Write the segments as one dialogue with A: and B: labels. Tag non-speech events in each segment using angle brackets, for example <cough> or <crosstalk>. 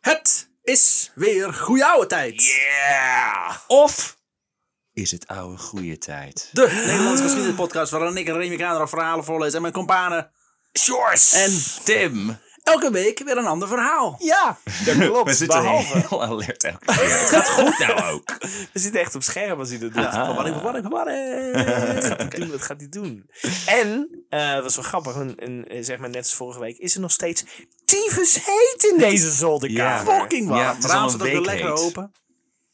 A: Het is weer goeie oude tijd.
B: Yeah!
A: Of
B: Is het oude goede tijd?
A: de Nederlandse geschiedenispodcast waarin ik en Remy Kader verhalen voorlees en mijn kompanen
B: Sjors! En Tim!
A: elke week weer een ander verhaal.
C: Ja, dat klopt.
B: <laughs> We zitten
C: Behalve,
B: <laughs> heel alert elke keer. Het gaat goed nou ook.
C: we zitten echt op scherm als hij dat doet.
B: Ah.
C: Verwarring, verwarring, verwarring. Dat gaat hij doen, dat gaat hij doen. En, eh dat is wel grappig, een, een, eh, zeg maar net als vorige week, is er nog steeds tyfus heet in deze zolderkamer.
B: Ja.
A: Fucking waar.
B: Ja, het is al een
A: zit ook weer
B: week
A: lekker
B: heet.
A: open.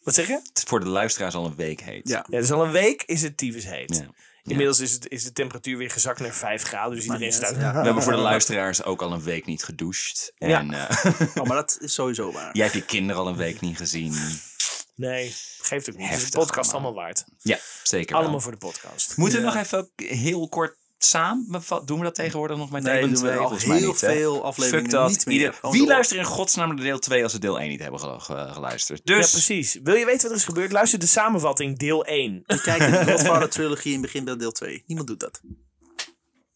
C: Wat zeg je?
B: Het is voor de luisteraars al een week heet.
A: Ja.
C: Ja, dus al een week is het tyfus heet.
B: Ja.
C: Inmiddels is, het, is de temperatuur weer gezakt naar 5 graden, dus iedereen
A: niet
C: staat...
A: uit,
B: We hebben voor de luisteraars ook al een week niet gedoucht. En eh, <laughs>
A: Oh, maar dat is sowieso waar.
B: jij hebt je kinderen al een week niet gezien.
C: Nee, geeft ook niet. Het is
B: Heftig
C: de podcast
B: allemaal.
C: allemaal waard.
B: Ja, zeker wel.
C: Allemaal voor de podcast.
B: Moeten we
A: Ja.
B: nog even ook heel kort samenvatten? Doen we dat tegenwoordig nog met
A: Nee,
B: deel
A: doen we
B: 2?
A: al
B: Volgens mij
A: heel
B: niet, hè?
A: veel afleveringen
B: Fuck dat.
A: niet meer.
B: Ieder-
A: Gewoon
B: Wie
A: door.
B: luistert in godsnaam naar deel 2 als ze deel 1 niet hebben gelu- ge- geluisterd?
C: Ja,
B: Dus,
C: precies. Wil je weten wat er is gebeurd? Luister de samenvatting, deel 1.
A: Ik kijk in <laughs> de Godfather trilogie in begin bij deel 2. Niemand doet dat.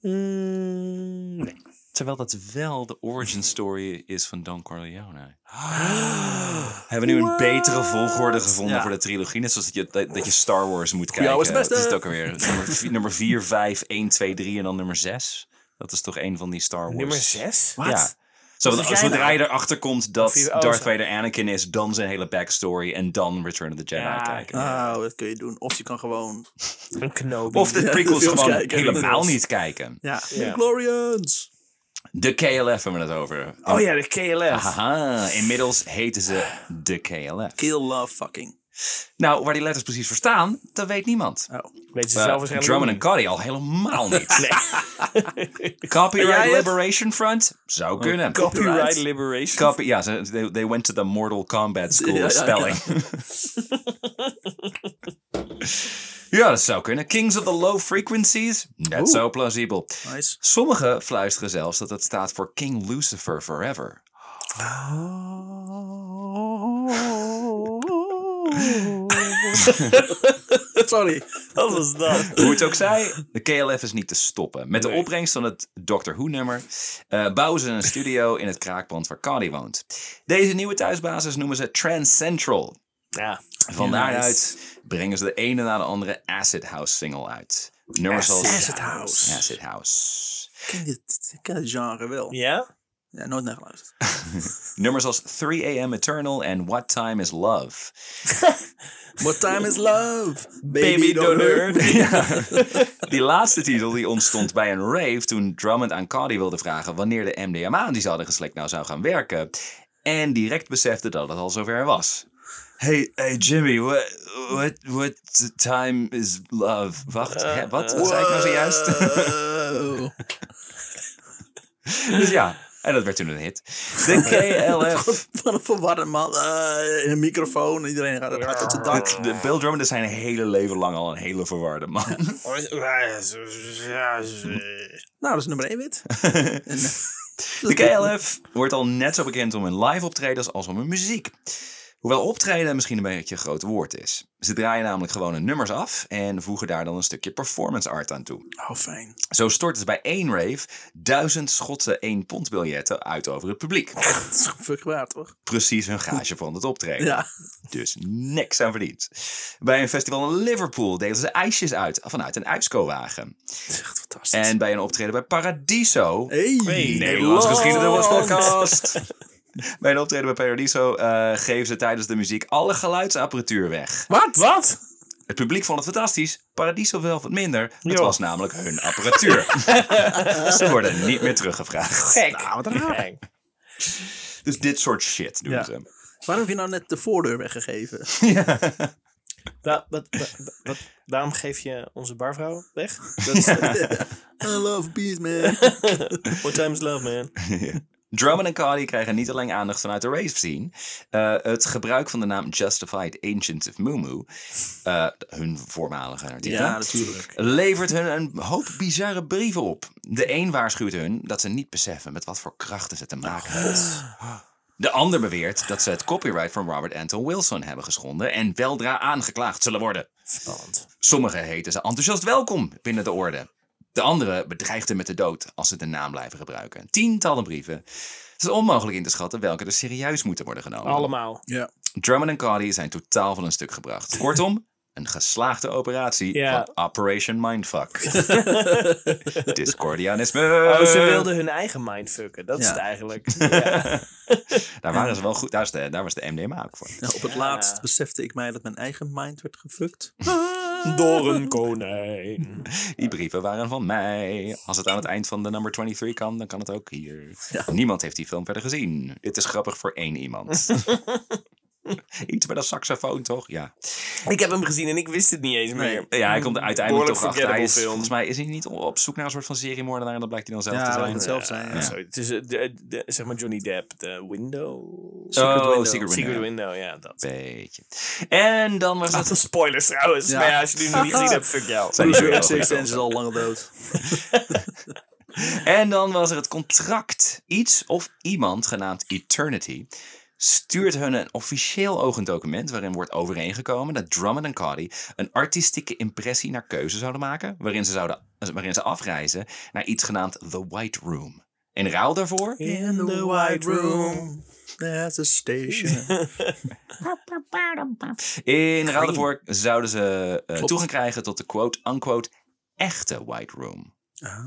C: Mm, nee.
B: terwijl dat wel de origin story is van
A: <gasps>
B: Don Corleone. hebben we nu een betere volgorde gevonden
A: Ja.
B: voor de trilogie? Net zoals dat je, dat, dat je Star Wars moet
A: jou
B: kijken.
A: is het beste.
B: Dat is het ook alweer. nummer, vi- nummer 4, 5, 1, 2, 3 en dan nummer 6. Dat is toch een van die Star Wars.
C: Nummer 6?
A: Wat?
B: Ja. Zo,
A: zeg
B: want
A: jij
B: zodra
A: nou?
B: je erachter komt
C: Of
B: dat
C: je- oh,
B: Darth
C: zo.
B: Vader Anakin is, dan zijn hele backstory en dan Return of the Jedi
C: Ja.
B: kijken.
A: Nou, dat kun je doen. Of je kan gewoon...
C: Een knoop.
B: Of de
A: Ja, de <laughs>
B: prequels
A: films
B: gewoon
A: kijken,
B: helemaal
A: inderdaad.
B: niet kijken.
A: Ja.
C: Ja.
A: Glorians.
B: De KLF hebben we het over.
C: Oh ja, de KLF.
B: Haha, inmiddels heten ze de KLF.
A: Kill, love, fucking.
B: Nou, waar die letters precies voor staan, dat weet niemand.
A: Oh.
C: Weet ze
B: Eh,
C: zelf waarschijnlijk
B: Drummond
C: ook
B: en Cuddy al
A: <laughs>
B: helemaal niet.
C: niet.
B: <laughs> Copyright
A: Jij het? Oh,
B: Liberation Front? Zou kunnen.
C: Copyright liberation.
B: Copy, ja, ze- they, they went to the Mortal Kombat School
A: Ja,
B: of
A: ja, ja.
B: Spelling. <laughs> Ja. dat zou kunnen. Kings of the Low Frequencies? Net zo plausibel.
A: Nice.
B: Sommigen fluisteren zelfs dat het staat voor King Lucifer Forever.
A: Ah. <laughs> Sorry.
C: Wat was dat?
B: Hoe het ook zij, de KLF is niet te stoppen. Met de
C: Nee.
B: opbrengst van het Doctor Who-nummer eh, bouwen ze een studio in het kraakpand waar Cardi woont. Deze nieuwe thuisbasis noemen ze Trans Central.
C: <laughs> Ja.
B: Van
A: Nice.
B: daaruit brengen ze de ene na de andere Acid House single uit. Nummers als
A: Acid House.
B: Acid House.
A: ken dit, ik ken het genre wel.
C: Ja?
A: Ja, nooit naar geluisterd.
B: Nummers als 3 AM Eternal en What Time Is Love.
A: What time is love? Baby,
C: Baby
A: don't hurt.
C: Donor.
B: Ja. Die laatste titel die ontstond bij een rave toen Drummond aan Cardi wilde vragen wanneer de MDMA die ze hadden geslikt nou zou gaan werken. En direct besefte dat het al zover was. Hey, hey Jimmy, what, what, what time is love? Wacht, hè, wat Wat zei ik nou zojuist? <laughs>
A: Wow.
B: dus ja, en dat werd toen een hit. De
A: <laughs>
B: KLF.
A: Wat een verwarde man. Eh, in een microfoon. Iedereen gaat het hart tot zijn dak.
B: De Bill Drummond is zijn hele leven lang al een hele verwarde man.
C: <laughs>
A: Nou, dat is nummer 1 wit.
B: De KLF wordt al net zo bekend om hun live optredens als om hun muziek. Hoewel optreden misschien een beetje een groot woord is. Ze draaien namelijk gewoon hun nummers af en voegen daar dan een stukje performance art aan toe.
A: Oh, fijn.
B: Zo storten ze bij één rave duizend Schotse 1 pond biljetten uit over het publiek.
A: Dat is gewoon fuck waard, toch?
B: Precies hun gage van het optreden.
A: Ja. <laughs>
B: Dus niks aan verdiend. Bij een festival in Liverpool delen ze ijsjes uit vanuit een uitsco-wagen.
A: Dat is echt fantastisch.
B: En bij een optreden bij Paradiso.
A: Hey,
B: Nederlands geschiedenis
A: Nederland.
B: podcast. <laughs> bij een optreden bij Paradiso eh, geven ze tijdens de muziek alle geluidsapparatuur weg.
C: Wat? Wat?
B: Het publiek vond het fantastisch. Paradiso wel wat minder. Het
C: Jo.
B: was namelijk hun
A: <laughs>
B: apparatuur. ze worden niet meer teruggevraagd.
C: Gek. Nou, wat raar.
B: Dus dit soort shit doen
A: Ja.
B: ze.
A: Waarom heb je nou net de voordeur weggegeven?
C: Da- wat, wat, wat, daarom geef je onze barvrouw weg? Dat is,
A: <laughs> I love peace, man.
C: What time is love, man?
B: Drummond en Cardi krijgen niet alleen aandacht vanuit de rave scene. eh, het gebruik van de naam Justified Ancients of Moo Moo, eh, hun voormalige artiesten,
A: Ja, natuurlijk.
B: levert hun een hoop bizarre brieven op. De een waarschuwt hun dat ze niet beseffen met wat voor krachten ze te
C: Ah.
B: maken hebben. De ander beweert dat ze het copyright van Robert Anton Wilson hebben geschonden en weldra aangeklaagd zullen worden.
C: Spannend.
B: Sommigen heten ze enthousiast welkom binnen de orde. De andere bedreigt hem met de dood als ze de naam blijven gebruiken. Tientallen brieven. Het is onmogelijk in te schatten welke er serieus moeten worden genomen.
C: Allemaal.
B: Drummond en Cardi zijn totaal van een stuk gebracht. Kortom, een geslaagde operatie
C: Ja.
B: van Operation Mindfuck. Discordianisme.
C: Oh, ze wilden hun eigen mindfucken. Dat is
A: Ja.
C: het eigenlijk. Ja.
B: Daar waren ze wel goed. Daar, is de, daar was de MDMA ook voor.
A: Nou, op het
C: Ja.
A: laatst besefte ik mij dat mijn eigen mind werd <laughs> gefukt.
C: Door een konijn.
B: Die brieven waren van mij. Als het aan het eind van de number 23 kan, dan kan het ook hier. Niemand heeft die film verder gezien. Dit is grappig voor één
C: <laughs>
B: iemand. Iets met een saxofoon, toch? Ja.
C: Ik heb hem gezien en ik wist het niet eens meer.
B: Ja, hij komt er uiteindelijk
C: Behoorlijk
B: toch achter. Hij
C: forgettable
B: is,
C: film.
B: volgens mij is hij niet op zoek naar een soort van seriemoordenaar. En dan blijkt hij dan zelf
A: Ja,
B: te
A: laat
B: zijn.
A: het zelf zijn.
C: Ja,
A: ja.
C: sorry. Het is eh, de, de- zeg maar Johnny Depp, de window. Oh,
B: Secret window.
C: Secret
B: Secret
C: window, ja. Dat.
B: Beetje. En dan was het...
C: Dat is spoilers trouwens.
A: Ja.
C: Maar ja, als je die nog niet gezien hebt, fuck jou.
B: Zijn
A: Bruce
B: die
A: <laughs>
B: wel
A: Sixth
B: goed?
A: Sense is al lang dood.
B: <laughs> En dan was er het contract. Iets of iemand, genaamd Eternity, stuurt hun een officieel ogend document waarin wordt overeengekomen dat Drummond en Cardi een artistieke impressie naar keuze zouden maken, waarin ze, zouden, waarin ze afreizen naar iets genaamd The White Room. In ruil daarvoor
A: In the white room, there's a station.
B: In ruil daarvoor zouden ze eh, toegang krijgen tot de quote-unquote echte White Room.
A: Ah.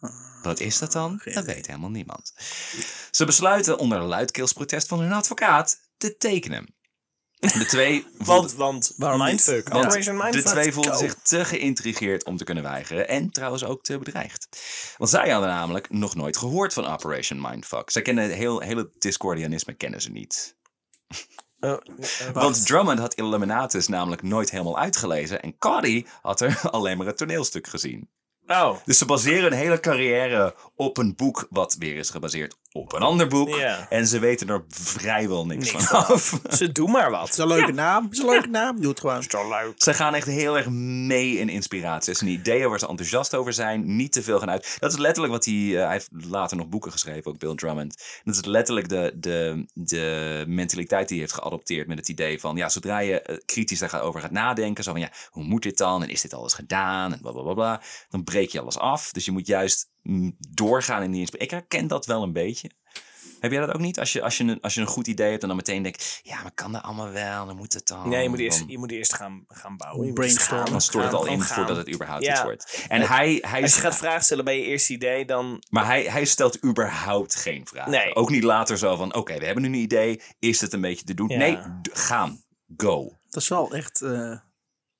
A: Eh,
B: Wat is dat dan? Dat weet helemaal niemand. Ze besluiten onder luidkeelsprotest van hun advocaat te tekenen. De
C: <laughs>
B: twee,
C: Want,
B: voelden,
C: want
A: Waarom
C: mindfuck.
A: niet? Ja.
C: Operation
B: de
C: Mindfuck.
B: twee voelden
C: Go.
B: zich te geïntrigeerd om te kunnen weigeren en trouwens ook te bedreigd. Want zij hadden namelijk nog nooit gehoord van Operation Mindfuck. Zij kennen het heel, hele Discordianisme kennen ze niet.
C: Oh, eh, eh,
B: Want Drummond had Illuminatus namelijk nooit helemaal uitgelezen en Cardi had er <laughs> alleen maar het toneelstuk gezien.
C: Oh,
B: Dus ze baseren hun hele carrière op een boek wat weer is gebaseerd op een ander boek.
C: Ja.
B: En ze weten er vrijwel niks
C: Niks
B: van af.
C: ze doen maar wat.
A: is een leuke naam. is een leuke naam. Doe het gewoon.
C: Zo leuk.
B: Ze gaan echt heel erg mee in inspiratie. Het zijn ideeën waar ze enthousiast over zijn. Niet te veel gaan uit. Dat is letterlijk wat hij... eh, hij heeft later nog boeken geschreven, ook Bill Drummond. Dat is letterlijk de, de, de mentaliteit die hij heeft geadopteerd met het idee van... Ja, zodra je eh, kritisch daarover gaat nadenken. Zo van, ja, hoe moet dit dan? En is dit alles gedaan? En blablabla. Bla, bla, dan breek je alles af. Dus je moet juist mm, doorgaan in die inspiratie. Ik herken dat wel een beetje. Heb jij dat ook niet? Als je, als, je een, als je een goed idee hebt en dan meteen denkt... Ja, maar kan dat allemaal wel? Dan moet het dan.
C: Nee, je moet eerst,
B: Dan-
C: je moet eerst gaan, gaan bouwen. Je moet
A: Brainstormen.
C: gaan-
B: dan stort het
C: gaan-
B: al in
C: gaan.
B: voordat het überhaupt
C: Ja.
B: iets wordt. En hij, hij,
C: Als je gaat vragen stellen bij je eerste idee, dan...
B: maar hij, hij stelt überhaupt geen vragen.
C: Nee.
B: Ook niet later zo van, oké, we hebben nu een idee. Is het een beetje te doen?
C: Ja.
B: Nee, d- gaan. Go.
A: Dat is wel echt... eh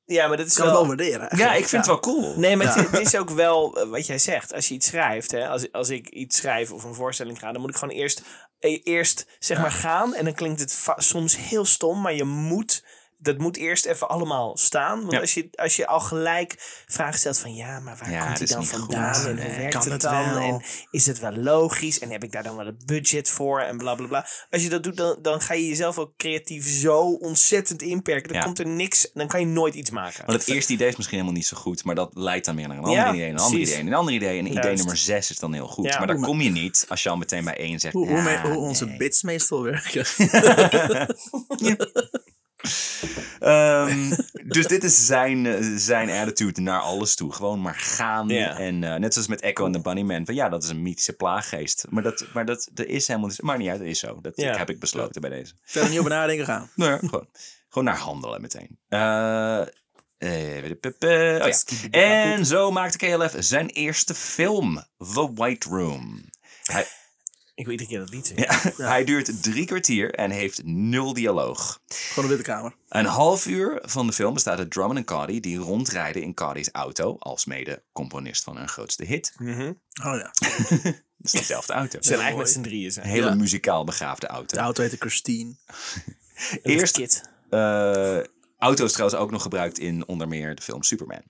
C: Ja, maar dat is
A: kan het
C: wel...
A: wel waarderen.
B: Ja,
A: eigenlijk.
B: ik vind het wel cool.
C: Nee, maar het, het is ook wel eh, wat jij zegt. Als je iets schrijft, hè, als, als ik iets schrijf of een voorstelling ga, dan moet ik gewoon eerst, eh, eerst zeg maar gaan. En dan klinkt het va- soms heel stom, maar je moet, dat moet eerst even allemaal staan. Want
B: Ja.
C: als, je, als je al gelijk vragen stelt van ja, maar waar
B: Ja,
C: komt
B: dat
C: die
B: is
C: dan
B: niet goed.
C: vandaan? En hoe
B: Nee,
C: werkt
A: kan
C: het
A: het
C: dan?
A: wel?
C: En is het wel logisch? En heb ik daar dan wel het budget voor? En bla bla bla. Als je dat doet, dan, dan ga je jezelf ook creatief zo ontzettend inperken. Dan
B: Ja.
C: komt er niks, dan kan je nooit iets maken.
B: Want het eerste idee is misschien helemaal niet zo goed, maar dat leidt dan weer naar een ander
C: Ja,
B: idee, een ander
C: precies.
B: idee, een ander idee. En idee
C: Juist.
B: nummer zes is dan heel goed.
C: Ja.
B: maar daar kom je niet als je al meteen bij één zegt.
A: Hoe, hoe, me-
B: "Ja,
A: hoe onze
B: nee."
A: bits meestal <laughs> werken.
C: <laughs>
B: Ehm, dus dit is zijn, eh, zijn attitude naar alles toe. Gewoon maar gaan.
C: Ja.
B: En eh, net zoals met Echo en de Bunnyman. Van ja, dat is een mythische plaaggeest. Maar dat, maar dat, dat is helemaal niet. Maar niet uit, dat is zo. Dat
C: Ja.
B: heb ik besloten bij deze.
A: Verder niet over nadenken gaan.
B: Nou ja, gewoon, gewoon naar handelen meteen. Eh, eh, pup, pup, oh ja. En zo maakte KLF zijn eerste film, The White Room. Hij,
C: Ik wil iedere keer dat lied zingen.
B: ja, <laughs> hij duurt drie kwartier en heeft nul dialoog.
A: Gewoon de Witte Kamer.
B: Een half uur van de film bestaat uit Drummond en Cardi die rondrijden in Cardi's auto, als mede componist van hun grootste hit.
C: Mhm.
A: Oh ja.
B: Dat is dezelfde auto.
A: <laughs>
C: Ze zijn eigenlijk met z'n drieën
B: Een
C: zijn.
B: hele
A: Ja.
B: muzikaal begaafde auto.
A: De auto heette Christine.
B: Eerst,
C: kit.
B: eh auto is trouwens ook nog gebruikt in onder meer de film Superman.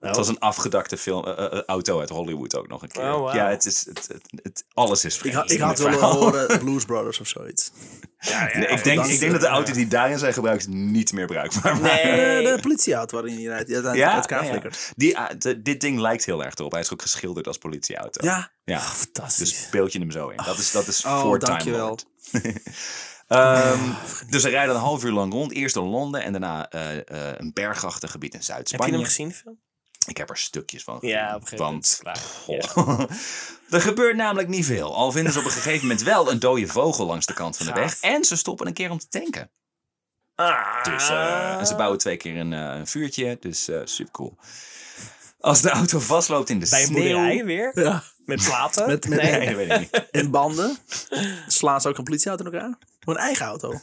A: Oh.
B: Het was een afgedakte film, eh, eh, eh, auto uit Hollywood ook nog een keer.
C: Oh, wauw.
B: Ja, het is, het, het, het- alles is
A: Ik,
B: vreemd
A: ha- ik
B: in <laughs>
A: had
B: dit
A: willen
B: verhaal.
A: horen Blues Brothers of zoiets.
B: Nee, ik, denk, ik denk dat
C: auto
B: de auto's die daarin zijn gebruikt niet meer bruikbaar waren.
C: Nee.
A: De, de politieauto waarin hij rijdt. Die uiteindelijk
B: Ja,
A: uit elkaar
B: ja, ja.
A: flikkert.
B: Die, eh, de- dit ding lijkt heel erg erop. Hij is ook geschilderd als politieauto.
A: Ja.
B: ja.
C: fantastisch.
B: Dus speel je hem zo in. Dat is, dat is
A: Oh,
B: voor Time
A: dankjewel.
B: Lord. <laughs> Ehm, dus ze rijden een half uur lang rond. Eerst door Londen en daarna eh, eh, een bergachtig gebied in
C: Heb je
B: Zuid-Spanje.
C: hem gezien, de film?
B: Ik heb er stukjes van.
C: Ja,
B: gezien,
C: op een gegeven moment is
B: Want
C: het klaar.
B: Goh. <laughs> Er gebeurt namelijk niet veel. Al vinden ze op een gegeven moment wel een dode vogel langs de kant van de weg.
C: Gaaf.
B: En ze stoppen een keer om te tanken.
C: Ah.
B: Dus, eh, en ze bouwen twee keer een, eh, een vuurtje. Dus eh super cool. Als de auto vastloopt in de
C: Bij een
B: sneeuw.
C: boerderij weer.
A: Ja.
C: Met platen.
A: Met- met-
B: <laughs> Nee, dat weet ik niet. <laughs>
A: En banden. Slaan ze ook een politieauto in elkaar? Voor een eigen
B: <laughs>
A: auto.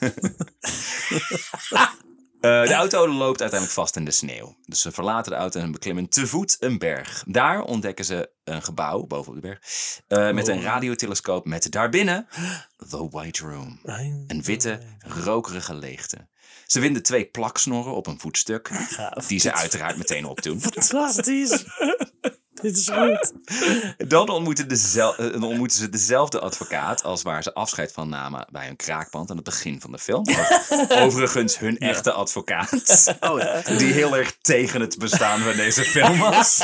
B: Eh, de auto loopt uiteindelijk vast in de sneeuw. Dus ze verlaten de auto en beklimmen te voet een berg. Daar ontdekken ze een gebouw bovenop de berg. eh, met een
A: Oh.
B: radiotelescoop
C: <gasps>
B: met daarbinnen The White Room.
C: Oh, Nee.
B: Een witte, rokerige leegte. Ze winden twee plaksnorren op een voetstuk,
C: Gaaf.
B: die ze uiteraard meteen opdoen. <laughs>
C: Fantastisch. Dit is goed.
B: Dan ontmoeten, dezel- eh, dan ontmoeten ze dezelfde advocaat als waar ze afscheid van namen bij hun kraakband aan het begin van de
C: <laughs>
B: film. Overigens hun echte advocaat,
A: Oh
B: <laughs>
A: ja.
B: die heel erg tegen het bestaan van deze film was. <laughs>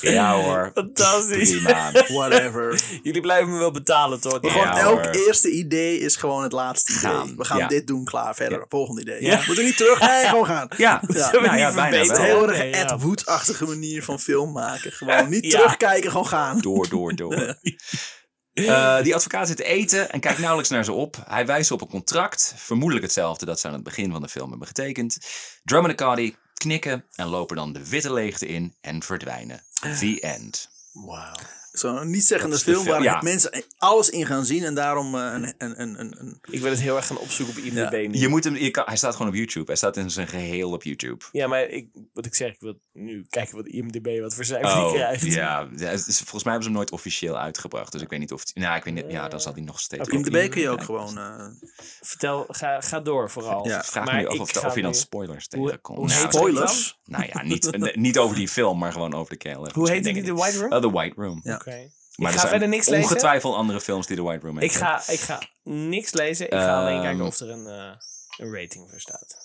B: Ja hoor,
C: Fantastisch.
B: prima.
A: Whatever.
C: Jullie blijven me wel betalen, toch?
B: Ja,
A: Gewoon elk
B: hoor.
A: eerste idee is gewoon het laatste idee.
B: Gaan,
A: We gaan
B: ja.
A: dit doen, klaar, verder. Volgende idee.
B: Ja.
A: We moeten niet terug. Nee, gewoon gaan.
B: Ja,
A: Ja.
B: nou
C: Niet
B: ja, bijna
C: verbeterd.
A: Een
B: wel.
A: heel erg
C: Nee, ja.
A: Ed Wood-achtige manier van film maken. Gewoon niet
C: Ja.
A: terugkijken, gewoon gaan.
B: Door, door, door. Eh, die advocaat zit te eten en kijkt nauwelijks naar ze op. Hij wijst op een contract, vermoedelijk hetzelfde dat ze aan het begin van de film hebben getekend. Drummond en Cardi knikken en lopen dan de witte leegte in en verdwijnen. The end.
C: Wauw.
A: Zo'n niet-zeggende
B: Dat is de
A: film,
B: film,
A: waar
B: ja.
A: mensen alles in gaan zien. En daarom eh, een, een, een, een, een-
C: Ik wil het heel erg gaan opzoeken op IMDb nu.
B: Je moet hem, je kan- hij staat gewoon op YouTube. Hij staat in zijn geheel op YouTube.
C: Ja, maar ik, wat ik zeg, ik wil nu kijken wat IMDb wat voor cijfer die
B: Oh,
C: krijgt.
B: ja. Ja, het is- Volgens mij hebben ze hem nooit officieel uitgebracht. Dus ik weet niet of... het- Nou, ik weet niet. Ja, dan zal hij nog steeds...
C: Oké.
A: In de
B: opnieuw
A: B kun je ook
B: bekijken.
A: gewoon... eh,
C: Vertel, ga, ga door vooral.
A: Ja.
B: Vraag
C: Maar
B: me nu af
C: ik
B: of,
C: ga
B: of je dan
C: nu-
B: spoilers
C: Hoe-
B: tegenkomt.
C: hoe
B: Nou,
C: heet
B: dat-
C: het dan?
A: spoilers?
B: Nou ja, niet, nee, niet over die film, maar gewoon over de kale.
C: Hoe heet die, The White Room?
B: Oh, The White Room.
A: Ja.
C: Oké.
B: Maar
C: ik
B: er
C: ga
B: zijn
C: verder niks lezen.
B: Ongetwijfeld andere films die The White Room
C: Ik
B: hebben.
C: ga, ik ga niks lezen. Ik ga alleen
B: Ehm.
C: kijken of er een, eh, een rating voor staat.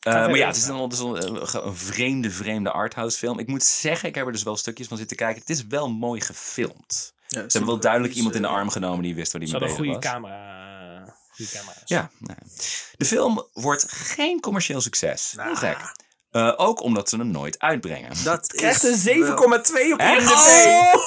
B: Eh, maar
C: verder.
B: ja, het is dan wel- het is wel een, ge- een vreemde, vreemde arthouse film. Ik moet zeggen, ik heb er dus wel stukjes van zitten kijken. Het is wel mooi gefilmd.
A: ja,
B: Ze hebben wel duidelijk iemand in de arm genomen die wist waar die
C: Ze
B: mee
C: hadden een
B: bezig
C: goede
B: was.
C: camera. eh, Goede camera's.
B: Ja, nou ja. De film wordt geen commercieel succes.
A: Nou.
B: Heel gek. Eh, ook omdat ze hem nooit uitbrengen.
A: Dat
C: Krijgt
A: is
C: een 7,2
A: wel-
C: op IMDb.
A: <laughs>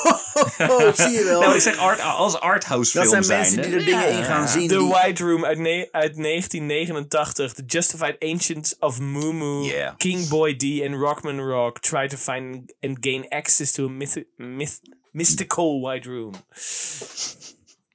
A: Oh, zie je wel.
B: Nou, ik zeg art, als arthouse
A: dat
B: film
A: zijn mensen die
B: zijnde.
A: er dingen in gaan zien.
C: The
A: die-
C: White Room uit, ne- uit 1989. The Justified Ancients of Mumu,
B: Yeah.
C: King Boy D en Rockman Rock try to find and gain access to a myth- myth- mystical White Room.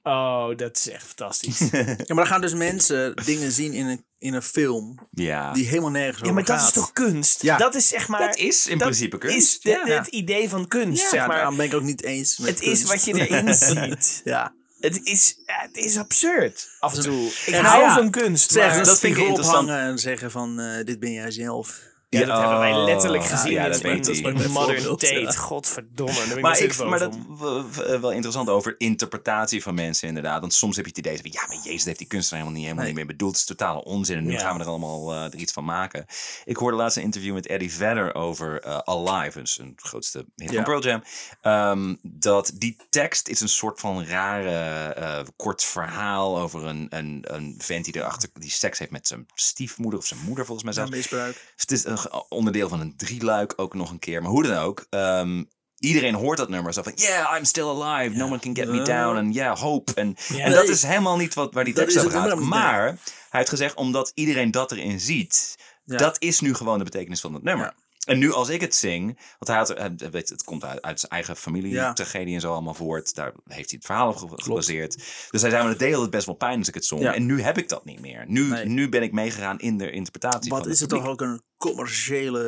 C: Oh, dat is echt fantastisch.
B: <laughs>
A: Ja, maar dan gaan dus mensen dingen zien in een, in een film
B: Ja.
A: die helemaal nergens
C: ja,
A: over
C: maar dat is
A: gaat.
C: toch kunst?
A: Ja.
C: Dat is zeg maar...
B: Dat is in
C: dat
B: principe kunst.
C: is de-
B: ja.
C: het idee van kunst,
A: Ja,
C: zeg maar.
A: daarom ben ik ook niet eens met
C: Het is
A: kunst.
C: wat je <laughs>
A: <laughs>
C: erin ziet.
A: Ja.
C: Het is, ja, het is absurd. Af en toe. Ik
A: En
C: hou
A: ja,
C: van kunst.
A: Zeg,
C: Maar
A: een
B: dat vind ik
A: spiegel
B: interessant.
A: ophangen en zeggen van, eh, dit ben jij zelf.
C: Ja, dat hebben wij letterlijk
B: Oh,
C: gezien
B: Ja,
C: in,
B: dat
C: in-
B: weet
C: in
B: hij.
A: mijn
C: Modern
A: voorbeeld,
C: Date.
A: ja.
C: Godverdomme, daar ben ik nog
B: Maar,
C: steeds
B: ik,
C: boos
B: maar dat
C: om.
B: w- w- eh, wel interessant over interpretatie van mensen inderdaad. Want soms heb je het idee van, ja, maar Jezus, dat heeft die kunstenaar helemaal niet, helemaal
A: Nee.
B: niet meer bedoeld. Het is totale onzin en nu
C: Ja.
B: gaan we er allemaal eh, er iets van maken. Ik hoorde laatst een interview met Eddie Vedder over eh, Alive, dus een grootste hit
A: Ja.
B: van Pearl Jam. Ehm, dat die tekst is een soort van rare eh, kort verhaal over een, een, een vent die erachter die seks heeft met zijn stiefmoeder of zijn moeder volgens mij
A: Ja,
B: zelfs.
A: misbruik.
B: Dus het is een ge- onderdeel van een drieluik ook nog een keer. Maar hoe dan ook. ehm, iedereen hoort dat nummer. Zo van, yeah, I'm still alive. No one can get me
A: Ja.
B: down. En yeah, hope. En,
C: Ja.
B: en dat
A: Nee.
B: is helemaal niet wat, waar die
A: Dat
B: tekst
A: is
B: over
A: het
B: gaat.
A: nummer niet, nee.
B: Maar hij heeft gezegd, omdat iedereen dat erin ziet.
A: Ja.
B: Dat is nu gewoon de betekenis van dat nummer.
A: Ja.
B: En nu als ik het zing, want hij had, er- hij weet, het komt uit, uit zijn eigen familie,
A: Ja.
B: tragedie en zo allemaal voort. Daar heeft hij het verhaal op ge- gebaseerd. Dus hij zei, maar dat deed het best wel pijn als ik het zong.
A: Ja.
B: En nu heb ik dat niet meer. Nu,
A: Nee.
B: nu ben ik meegegaan in de interpretatie
A: Wat
B: van
A: is het
B: publiek.
A: toch ook een commerciële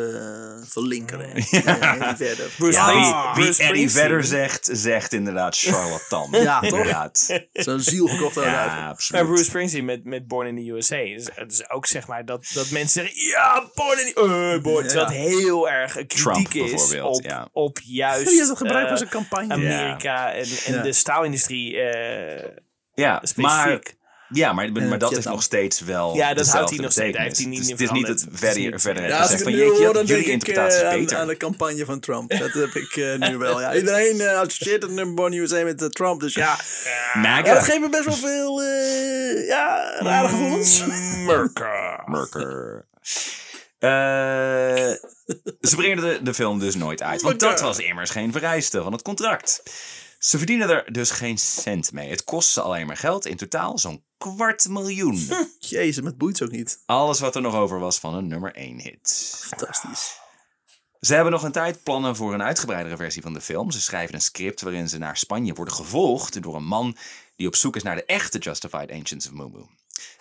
A: eh, verlinkering.
B: <laughs> Ja.
A: Ja. en <laughs> verder.
C: Bruce
B: Ja,
C: Lee-
A: Ah,
B: wie, wie
C: Bruce
B: Eddie
C: Springsteen.
B: Vedder zegt, zegt
C: <laughs>
B: inderdaad charlatan.
A: Ja, toch?
B: Inderdaad.
A: Zo'n ziel gekocht uit.
B: Ja,
C: Maar Bruce
B: absoluut.
C: Springsteen met, met Born in the USA. Dus, het is ook zeg maar dat, dat mensen zeggen: Ja, Born in the USA. Terwijl het heel erg een kritiek is
B: bijvoorbeeld,
C: op,
B: ja.
C: op juist
A: Je hebt het gebruikt
C: eh,
A: als een campagne.
B: Ja.
C: Amerika en, en
A: Ja.
C: de staalindustrie eh
B: Ja, maar,
C: specifiek. eh,
B: ja, maar, maar
A: En
B: dat is
A: Vietnam.
B: nog steeds wel
C: Ja, dat
B: dezelfde
C: houdt hij nog steeds- daar heeft hij
B: betekenis.
C: niet
B: Dus
C: in
B: Het is niet
C: veranderd.
B: dat
C: Het is
B: verder,
C: niet-
B: verder
A: Ja,
B: heeft
A: als ik
B: gezegd
A: het
B: van
A: nu
B: jeetje,
A: hoor, dan denk
B: jullie
A: ik eh,
B: interpretatie is
A: aan,
B: beter.
A: aan de campagne van
B: <laughs>
A: Trump. Dat heb ik eh, nu wel. Ja. Iedereen eh, associeert het nummer Born USA met eh, Trump. Dus ja, Ja,
B: MAGA.
A: dat geeft me best wel veel
C: Mm.
A: eh, ja, rare gevoelens.
C: Amerika.
B: Merker. Eh, ze brengen de, de film dus nooit uit. Want dat was immers geen vereiste van het contract. Ze verdienen er dus geen cent mee. Het kost ze alleen maar geld. In totaal zo'n kwart miljoen.
A: <laughs> Jezus, met boeit ook niet.
B: Alles wat er nog over was van een nummer 1 hit.
A: Fantastisch.
B: Ze hebben nog een tijd plannen voor een uitgebreidere versie van de film. Ze schrijven een script waarin ze naar Spanje worden gevolgd door een man die op zoek is naar de echte Justified Ancients of Mumu.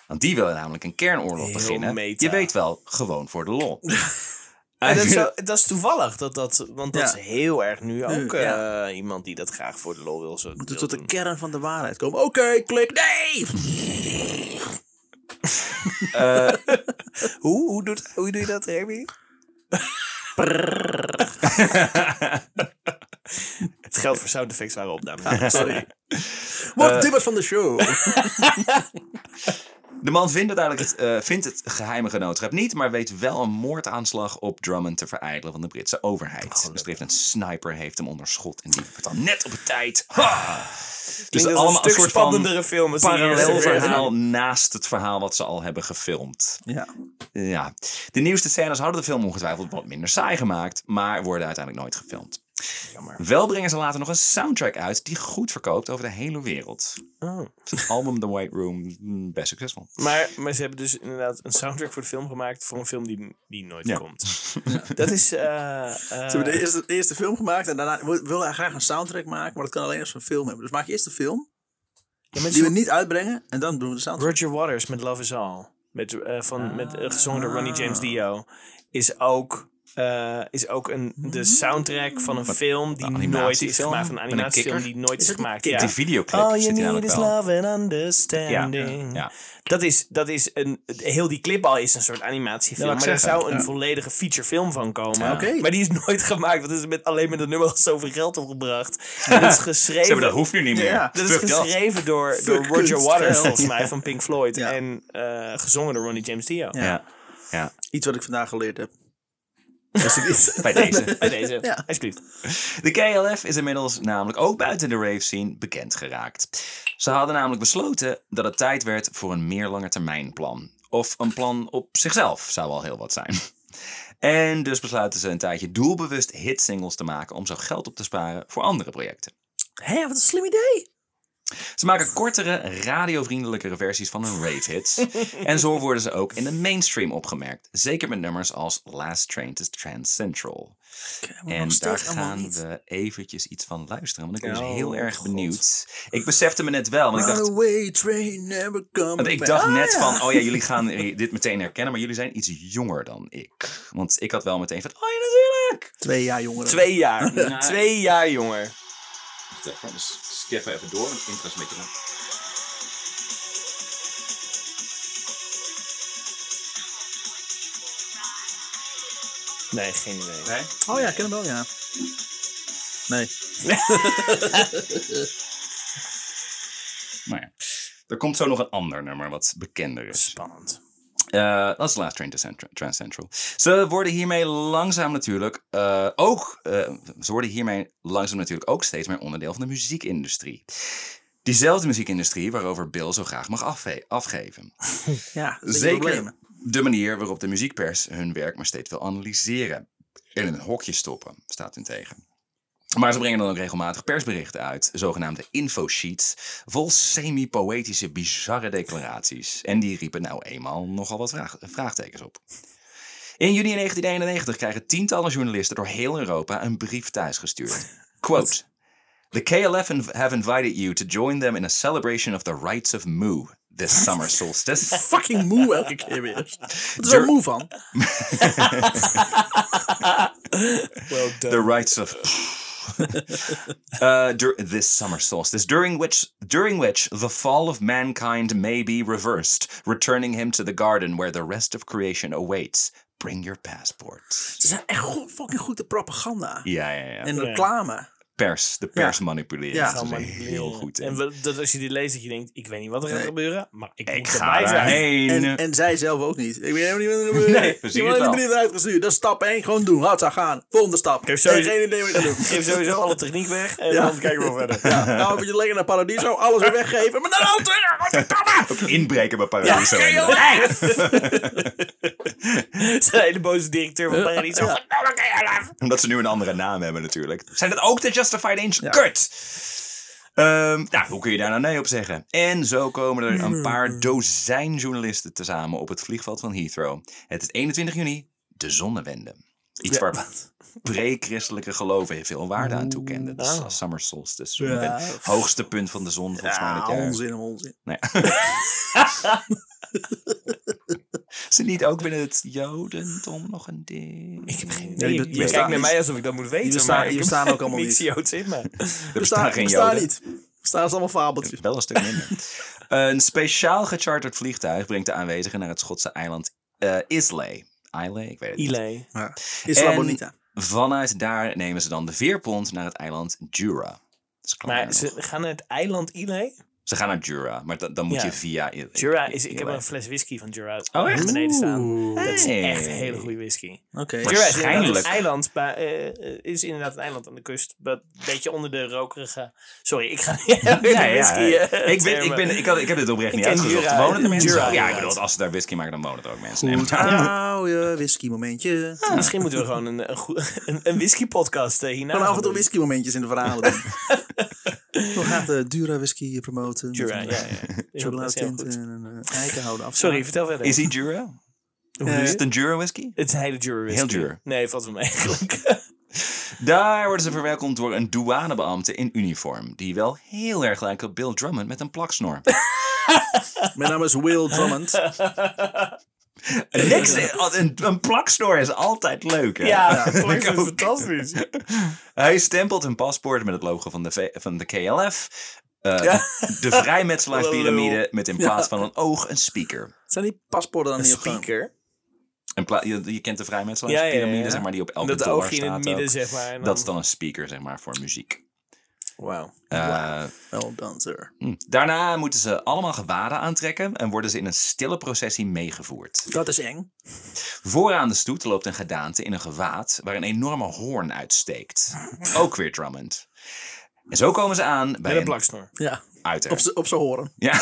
B: Want die willen namelijk een kernoorlog
C: Heel
B: beginnen.
C: meta.
B: Je weet wel, gewoon voor de
C: <laughs>
B: lol.
C: <laughs> En dat, is zo- dat is toevallig, dat, dat, want dat
A: Ja.
C: is heel erg nu ook
B: Ja.
C: eh, iemand die dat graag voor de lol wil. Zo,
A: Moeten we
C: wil
A: tot de
C: doen.
A: kern van de waarheid komen. Oké, klik. Nee! <laughs>
C: hoe, hoe, doet, hoe doe je dat, Remy? Het geldt voor sound effects waren op, dames en
A: <laughs>
C: heren.
A: Sorry. Wat dit was van de show.
B: De man vindt uiteindelijk het, eh, vindt het geheime genootschap niet, maar weet wel een moordaanslag op Drummond te vereidelen van de Britse
C: Oh,
B: overheid. dus er heeft een sniper heeft hem onder schot en die wordt dan net op tijd. Ha! Dus
C: Klinkt als een stuk spannendere film. als die
B: parallel
C: eerste versie.
B: verhaal naast het verhaal wat ze al hebben gefilmd.
A: ja.
B: Ja, de nieuwste scènes hadden de film ongetwijfeld wat minder saai gemaakt, maar worden uiteindelijk nooit gefilmd.
C: Jammer.
B: Wel brengen ze later nog een soundtrack uit die goed verkoopt over de hele wereld. Dus
C: Oh.
B: Het album The White Room, mm, best succesvol.
C: Maar, maar ze hebben dus inderdaad een soundtrack voor de film gemaakt. Voor een film die, die nooit
B: Ja.
C: komt. Dat is. eh eh,
A: Ze hebben de eerste, de eerste film gemaakt en daarna wil- willen hij graag een soundtrack maken, maar dat kan alleen als we een film hebben. Dus maak je eerst een film
C: ja, mensen-
A: die we niet uitbrengen en dan doen we de soundtrack.
C: Roger Waters met Love Is All. Met, eh, van,
B: Ah.
C: met, eh, gezongen door Ronnie James Dio. Is ook, eh, is ook een, de soundtrack van een film die nooit is
B: Mm-hmm. animatiefilm?
C: gemaakt. Van een
B: Met een
C: animatiefilm
B: kikker?
C: die nooit is,
A: het een
C: gemaakt.
A: kikker?
C: Ja.
B: Die videoclip
C: All
B: zit
C: you
B: hier
C: need
B: namelijk
C: is
B: wel.
C: love and understanding.
B: ja.
C: Dat is, dat is een, heel die clip al is een soort animatiefilm.
B: Ja,
C: maar
B: dat
C: daar
B: ik zeggen.
C: zou een volledige featurefilm van komen.
A: Oké.
C: Maar die is nooit <laughs> gemaakt. Want het is met, alleen met een nummer al zoveel geld opgebracht. En dat is geschreven.
B: Ze hebben dat hoeft nu niet meer.
A: Ja,
C: Dat is
B: Fuck dat.
C: geschreven door, door
A: Fuck
C: Roger
A: kunst.
C: Waters,
A: Ja.
C: volgens mij, van Pink Floyd.
A: Ja.
C: En eh, gezongen door Ronnie James Dio.
A: Ja.
B: Ja. ja,
A: Iets wat ik vandaag geleerd heb. Als ik iets-
B: bij
A: <laughs>
B: deze.
C: Bij deze,
A: Ja.
C: alsjeblieft.
B: De KLF is inmiddels namelijk ook buiten de rave scene bekend geraakt. Ze hadden namelijk besloten dat het tijd werd voor een meer lange termijn plan. Of een plan op zichzelf zou al heel wat zijn. En dus besluiten ze een tijdje doelbewust hitsingles te maken om zo geld op te sparen voor andere projecten.
A: Hé, wat een slim idee.
B: Ze maken kortere, radiovriendelijkere versies van hun rave
A: <laughs>
B: hits. en zo worden ze ook in de mainstream opgemerkt. Zeker met nummers als Last Train to Trans Central.
A: maar
B: en
A: nog
B: daar
A: steeds allemaal
B: gaan
A: niet.
B: we eventjes iets van luisteren. Want ik ben
C: Oh,
B: dus heel erg
C: God.
B: benieuwd. Ik besefte me net wel. Want ik dacht,
A: Runaway train never come
B: want ik
A: back.
B: dacht
A: Oh. Ah,
B: net
A: ja.
B: van, oh ja, jullie gaan dit meteen herkennen. Maar jullie zijn iets jonger dan ik. Want ik had wel meteen van, oh ja, natuurlijk.
A: Twee jaar jongeren.
C: Twee jaar. Twee jaar jonger.
B: Dus skip even door. Het intro is een beetje lang.
C: Nee, geen idee.
A: Oh ja, ik ken hem wel, ja. Nee.
B: Maar ja, er komt zo nog een ander nummer wat bekender is.
A: <laughs>
C: Spannend.
B: Eh, dat is de laatste Train to Cent- Trans Central. Ze worden hiermee langzaam natuurlijk eh, ook. eh, ze worden hiermee langzaam natuurlijk ook steeds meer onderdeel van de muziekindustrie. Diezelfde muziekindustrie waarover Bill zo graag mag afve- afgeven.
A: Ja, dat is een
B: Zeker
A: probleem.
B: de manier waarop de muziekpers hun werk maar steeds wil analyseren. En in een hokje stoppen, staat hun tegen. Maar ze brengen dan ook regelmatig persberichten uit, zogenaamde infosheets, vol semi-poëtische, bizarre declaraties. En die riepen nou eenmaal nogal wat vraag- vraagtekens op. In juni 1991 krijgen tientallen journalisten door heel Europa een brief thuisgestuurd. Quote. The KLF inv- have invited you to join them in a celebration of the rights of Moo this summer solstice.
A: Fucking moe elke keer
B: <laughs>
A: weer. Wat is
B: Dur-
A: er moe van?
C: Well
B: the
C: done.
B: rights of <laughs> uh, dur- this summer solstice, during which during which the fall of mankind may be reversed, returning him to the garden where the rest of creation awaits. Bring your passport.
A: Ze zijn echt goed, fucking goed in propaganda.
B: Ja, ja, ja.
A: En reclame.
B: pers, de pers manipuleren.
A: Ja.
B: Ja, dat is heel goed. in.
C: En wel- dat als je die leest, dat je denkt, ik weet niet wat er gaat
A: Nee.
C: gebeuren, maar ik,
B: ik
C: moet
B: ga
C: erbij zijn.
B: daarheen.
A: En,
B: <laughs>
A: en zij zelf ook niet. Ik weet helemaal niet wat er gebeurt.
B: eh, Nee, precies
A: Je wordt
B: wel.
A: die brief uitgestuurd. Dat is stap 1. Gewoon doen. Laat ze gaan. Volgende stap. Ik
C: heb sowieso-
A: geen idee wat je gaat
B: <laughs>
C: Ik
A: doen.
C: geef sowieso alle techniek weg en dan kijken we wel verder.
A: Ja, nou, vind je het lekker naar Paradiso. Alles weer weggeven. Maar dan altijd.
C: <laughs>
B: Ook inbreken bij Paradiso.
A: Ja,
B: inderdaad.
C: is een hele boze directeur van
A: <laughs>
C: Paradiso. Verdomme, kan je af?
B: Omdat ze nu een andere naam hebben natuurlijk. Zijn dat ook de Justified Angels? Kut! Ehm, nou, hoe kun je daar nou nee op zeggen? En zo komen er een
C: Hmm.
B: paar dozijn journalisten tezamen op het vliegveld van Heathrow. Het is 21 juni, de zonnewende. Iets waar pre-christelijke geloven heel veel waarde aan toekenden. De
C: Oh.
B: summer solstice, zonnewende. Hoogste punt van de zon volgens mij dit
A: Ja,
B: jaar.
A: onzin, onzin.
B: Nee. Is er niet ook binnen het Jodendom nog een ding?
C: Ik heb geen
A: Ja,
C: idee.
A: die
C: je
A: be-
C: je
A: bestaan
C: kijkt naar
A: niet.
C: mij alsof ik dat moet weten.
A: bestaan-
C: maar
A: die
C: ik heb <laughs>
A: bestaan ook allemaal
C: niks
A: niet.
C: Joods in me.
B: Er bestaan geen
A: bestaan
B: Joden.
A: niet. Bestaan is allemaal fabeltjes.
B: Wel een stuk minder.
C: <laughs>
B: een speciaal gecharterd vliegtuig brengt de aanwezigen naar het Schotse eiland eh, Islay. Islay, ik weet het niet.
C: Ile.
A: Isla
B: En-
A: Bonita.
B: Vanuit daar nemen ze dan de veerpont naar het eiland Jura. Dat is klaar
C: Maar
B: nog.
C: ze
B: ze...
C: gaan naar het eiland Ile.
B: gaan naar Jura, maar da- dan moet
C: Ja.
B: je via Islay.
C: Jura is... Ik heb
B: Islay.
C: een fles whisky van Jura
B: Oh, echt?
C: beneden staan. Dat is
B: Hey.
C: echt een hele goede whisky.
A: Oké.
C: Jura is inderdaad een
B: Waarschijnlijk.
C: eiland, maar, eh, eh, is inderdaad een eiland aan de kust. maar Een beetje onder de rokerige... Sorry, ik ga niet <laughs> ja,
B: Ja, ja,
C: whisky...
B: ja.
C: eh,
B: Ik, ben, ik,
C: termen.
B: ben, ik, had, ik heb dit oprecht
C: Ik
B: niet
C: ken
B: uitgezocht.
C: Jura.
B: wonen er mensen?
C: Jura,
B: ja, ik
C: inderdaad.
B: bedoel, als ze daar whisky maken, dan wonen er ook mensen. Nee, <laughs>
A: Goed.
B: maar-
A: Nou, je whisky momentje.
C: Ah, Misschien moeten we gewoon een, een, goe- <laughs> een, een whisky-podcast eh, hierna
A: Gewoon af en
C: gaan
A: toe
C: doen.
A: whisky momentjes in de verhalen. doen.
C: <laughs>
A: Ik wil graag de Dura whisky promoten.
C: Jura, ja,
A: Met
C: ja.
A: een
C: ja.
A: chocoladetint
C: Dat is heel goed.
A: en een eh, eikenhouden af.
C: Sorry, vertel verder.
B: Is hij Jura?
A: eh,
C: Hoe is
B: Is
C: het?
B: het een Jura whisky?
C: Het is een hele Jura whisky.
B: Heel Jura.
C: Nee, valt wel mee <laughs> eigenlijk.
B: Daar worden ze verwelkomd door een douanebeambte in uniform. Die wel heel erg lijkt op Bill Drummond met een plaksnor.
A: Mijn naam is Will
C: <laughs>
A: Drummond.
B: Niks, eh, een, een plaksnor is altijd leuk, hè?
C: ja, dat is
B: Ik ook.
C: fantastisch.
B: <laughs> Hij stempelt hun paspoort met het logo van de, V- van de KLF. eh, De vrijmetselaarspyramide met in plaats van een oog een speaker.
A: Zijn die paspoorten dan
C: Een
A: niet op gang?
C: speaker.
B: In pla- je, je kent de
C: Ja,
B: vrijmetselaarspyramide,
C: ja, ja, ja.
B: zeg maar, die op elke
C: Dat de
B: dollar
C: oogje in
B: staat.
C: het midden,
B: ook.
C: zeg maar. en dan-
B: Dat is dan een speaker, zeg maar, voor muziek.
C: Wauw.
B: Eh,
A: Wel dan, sir.
B: hm. Daarna moeten ze allemaal gewaden aantrekken en worden ze in een stille processie meegevoerd.
A: Dat is eng.
B: Vooraan de stoet loopt een gedaante in een gewaad waar een enorme hoorn
C: <laughs>
B: uitsteekt. Ook weer Drummond. En zo komen ze aan bij
C: Met een
B: een
C: plaksnor.
A: Ja,
B: uiter.
A: op z'n- op z'n horen.
C: <laughs>
B: Ja.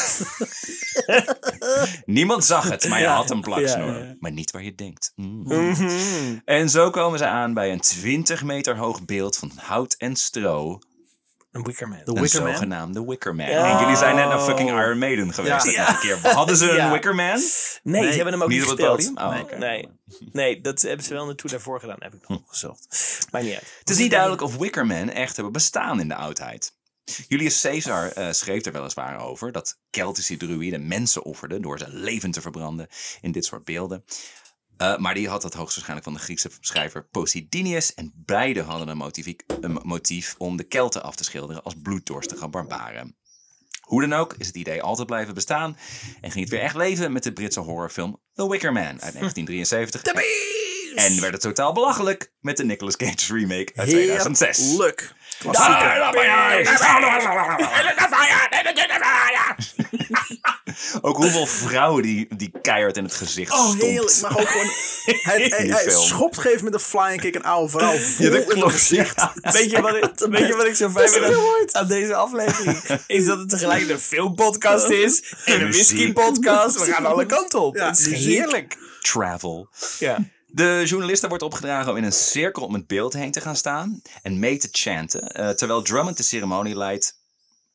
B: Niemand zag het, maar je
C: Ja,
B: had een plaksnor.
C: ja, ja.
B: Maar niet waar je denkt. Mm.
C: Mm-hmm.
B: En zo komen ze aan bij een 20 meter hoog beeld van hout en stro.
C: Een wickerman.
A: De
B: Een
A: Wicker Man.
B: zogenaamde Wickerman.
C: Ja.
B: En jullie zijn net naar fucking Iron Maiden
A: Ja.
B: geweest. dat laatste keer. Hadden ze een
C: Ja.
B: Wickerman?
C: Nee,
A: Nee,
C: ze hebben hem ook
B: niet
C: niet
B: op het
C: gespeeld.
B: podium? Oh,
C: nee,
B: oké.
C: nee, <laughs> nee, dat hebben ze wel naartoe daarvoor gedaan. Heb ik nog gezocht. Maar niet uit.
B: Het is niet duidelijk of Wickerman echt hebben bestaan in de oudheid. Julius Caesar eh, schreef er weliswaar over dat Keltische druïden mensen offerden door ze levend te verbranden in dit soort beelden. Eh, maar die had dat hoogstwaarschijnlijk van de Griekse schrijver Posidinius. En beide hadden een, motiviek- een motief om de Kelten af te schilderen als bloeddorstige barbaren. Hoe dan ook is het idee altijd blijven bestaan. En ging het weer echt leven met de Britse horrorfilm The Wicker Man uit 1973. En werd het totaal belachelijk met de Nicolas Cage remake uit 2006.
A: Heerlijk.
B: Ah,
A: Klassieker.
B: dat
C: <laughs>
B: ben je. Ook hoeveel vrouwen die, die keihard in het gezicht
A: Oh,
B: stompt.
A: heerlijk. Maar ook
C: <laughs>
A: gewoon... Hij, hij,
B: Die
A: hij
B: film.
A: schopt geeft met een flying kick een oude vrouw. vol
B: Ja,
A: in
B: dat
A: het
B: klopt.
A: gezicht.
B: Ja.
C: Weet je, wat
A: <laughs>
C: ik, weet je wat ik zo fijn
A: is
C: vind
A: heel
C: aan, aan deze <laughs> aflevering? Is dat het tegelijk een filmpodcast is en een
B: Muziek.
C: whiskypodcast. We gaan alle kanten op.
A: Ja,
C: het is
A: muziek.
C: heerlijk.
B: Travel.
C: Ja.
B: De journalisten wordt opgedragen om in een cirkel om het beeld heen te gaan staan en mee te chanten, eh, terwijl Drummond de ceremonie leidt.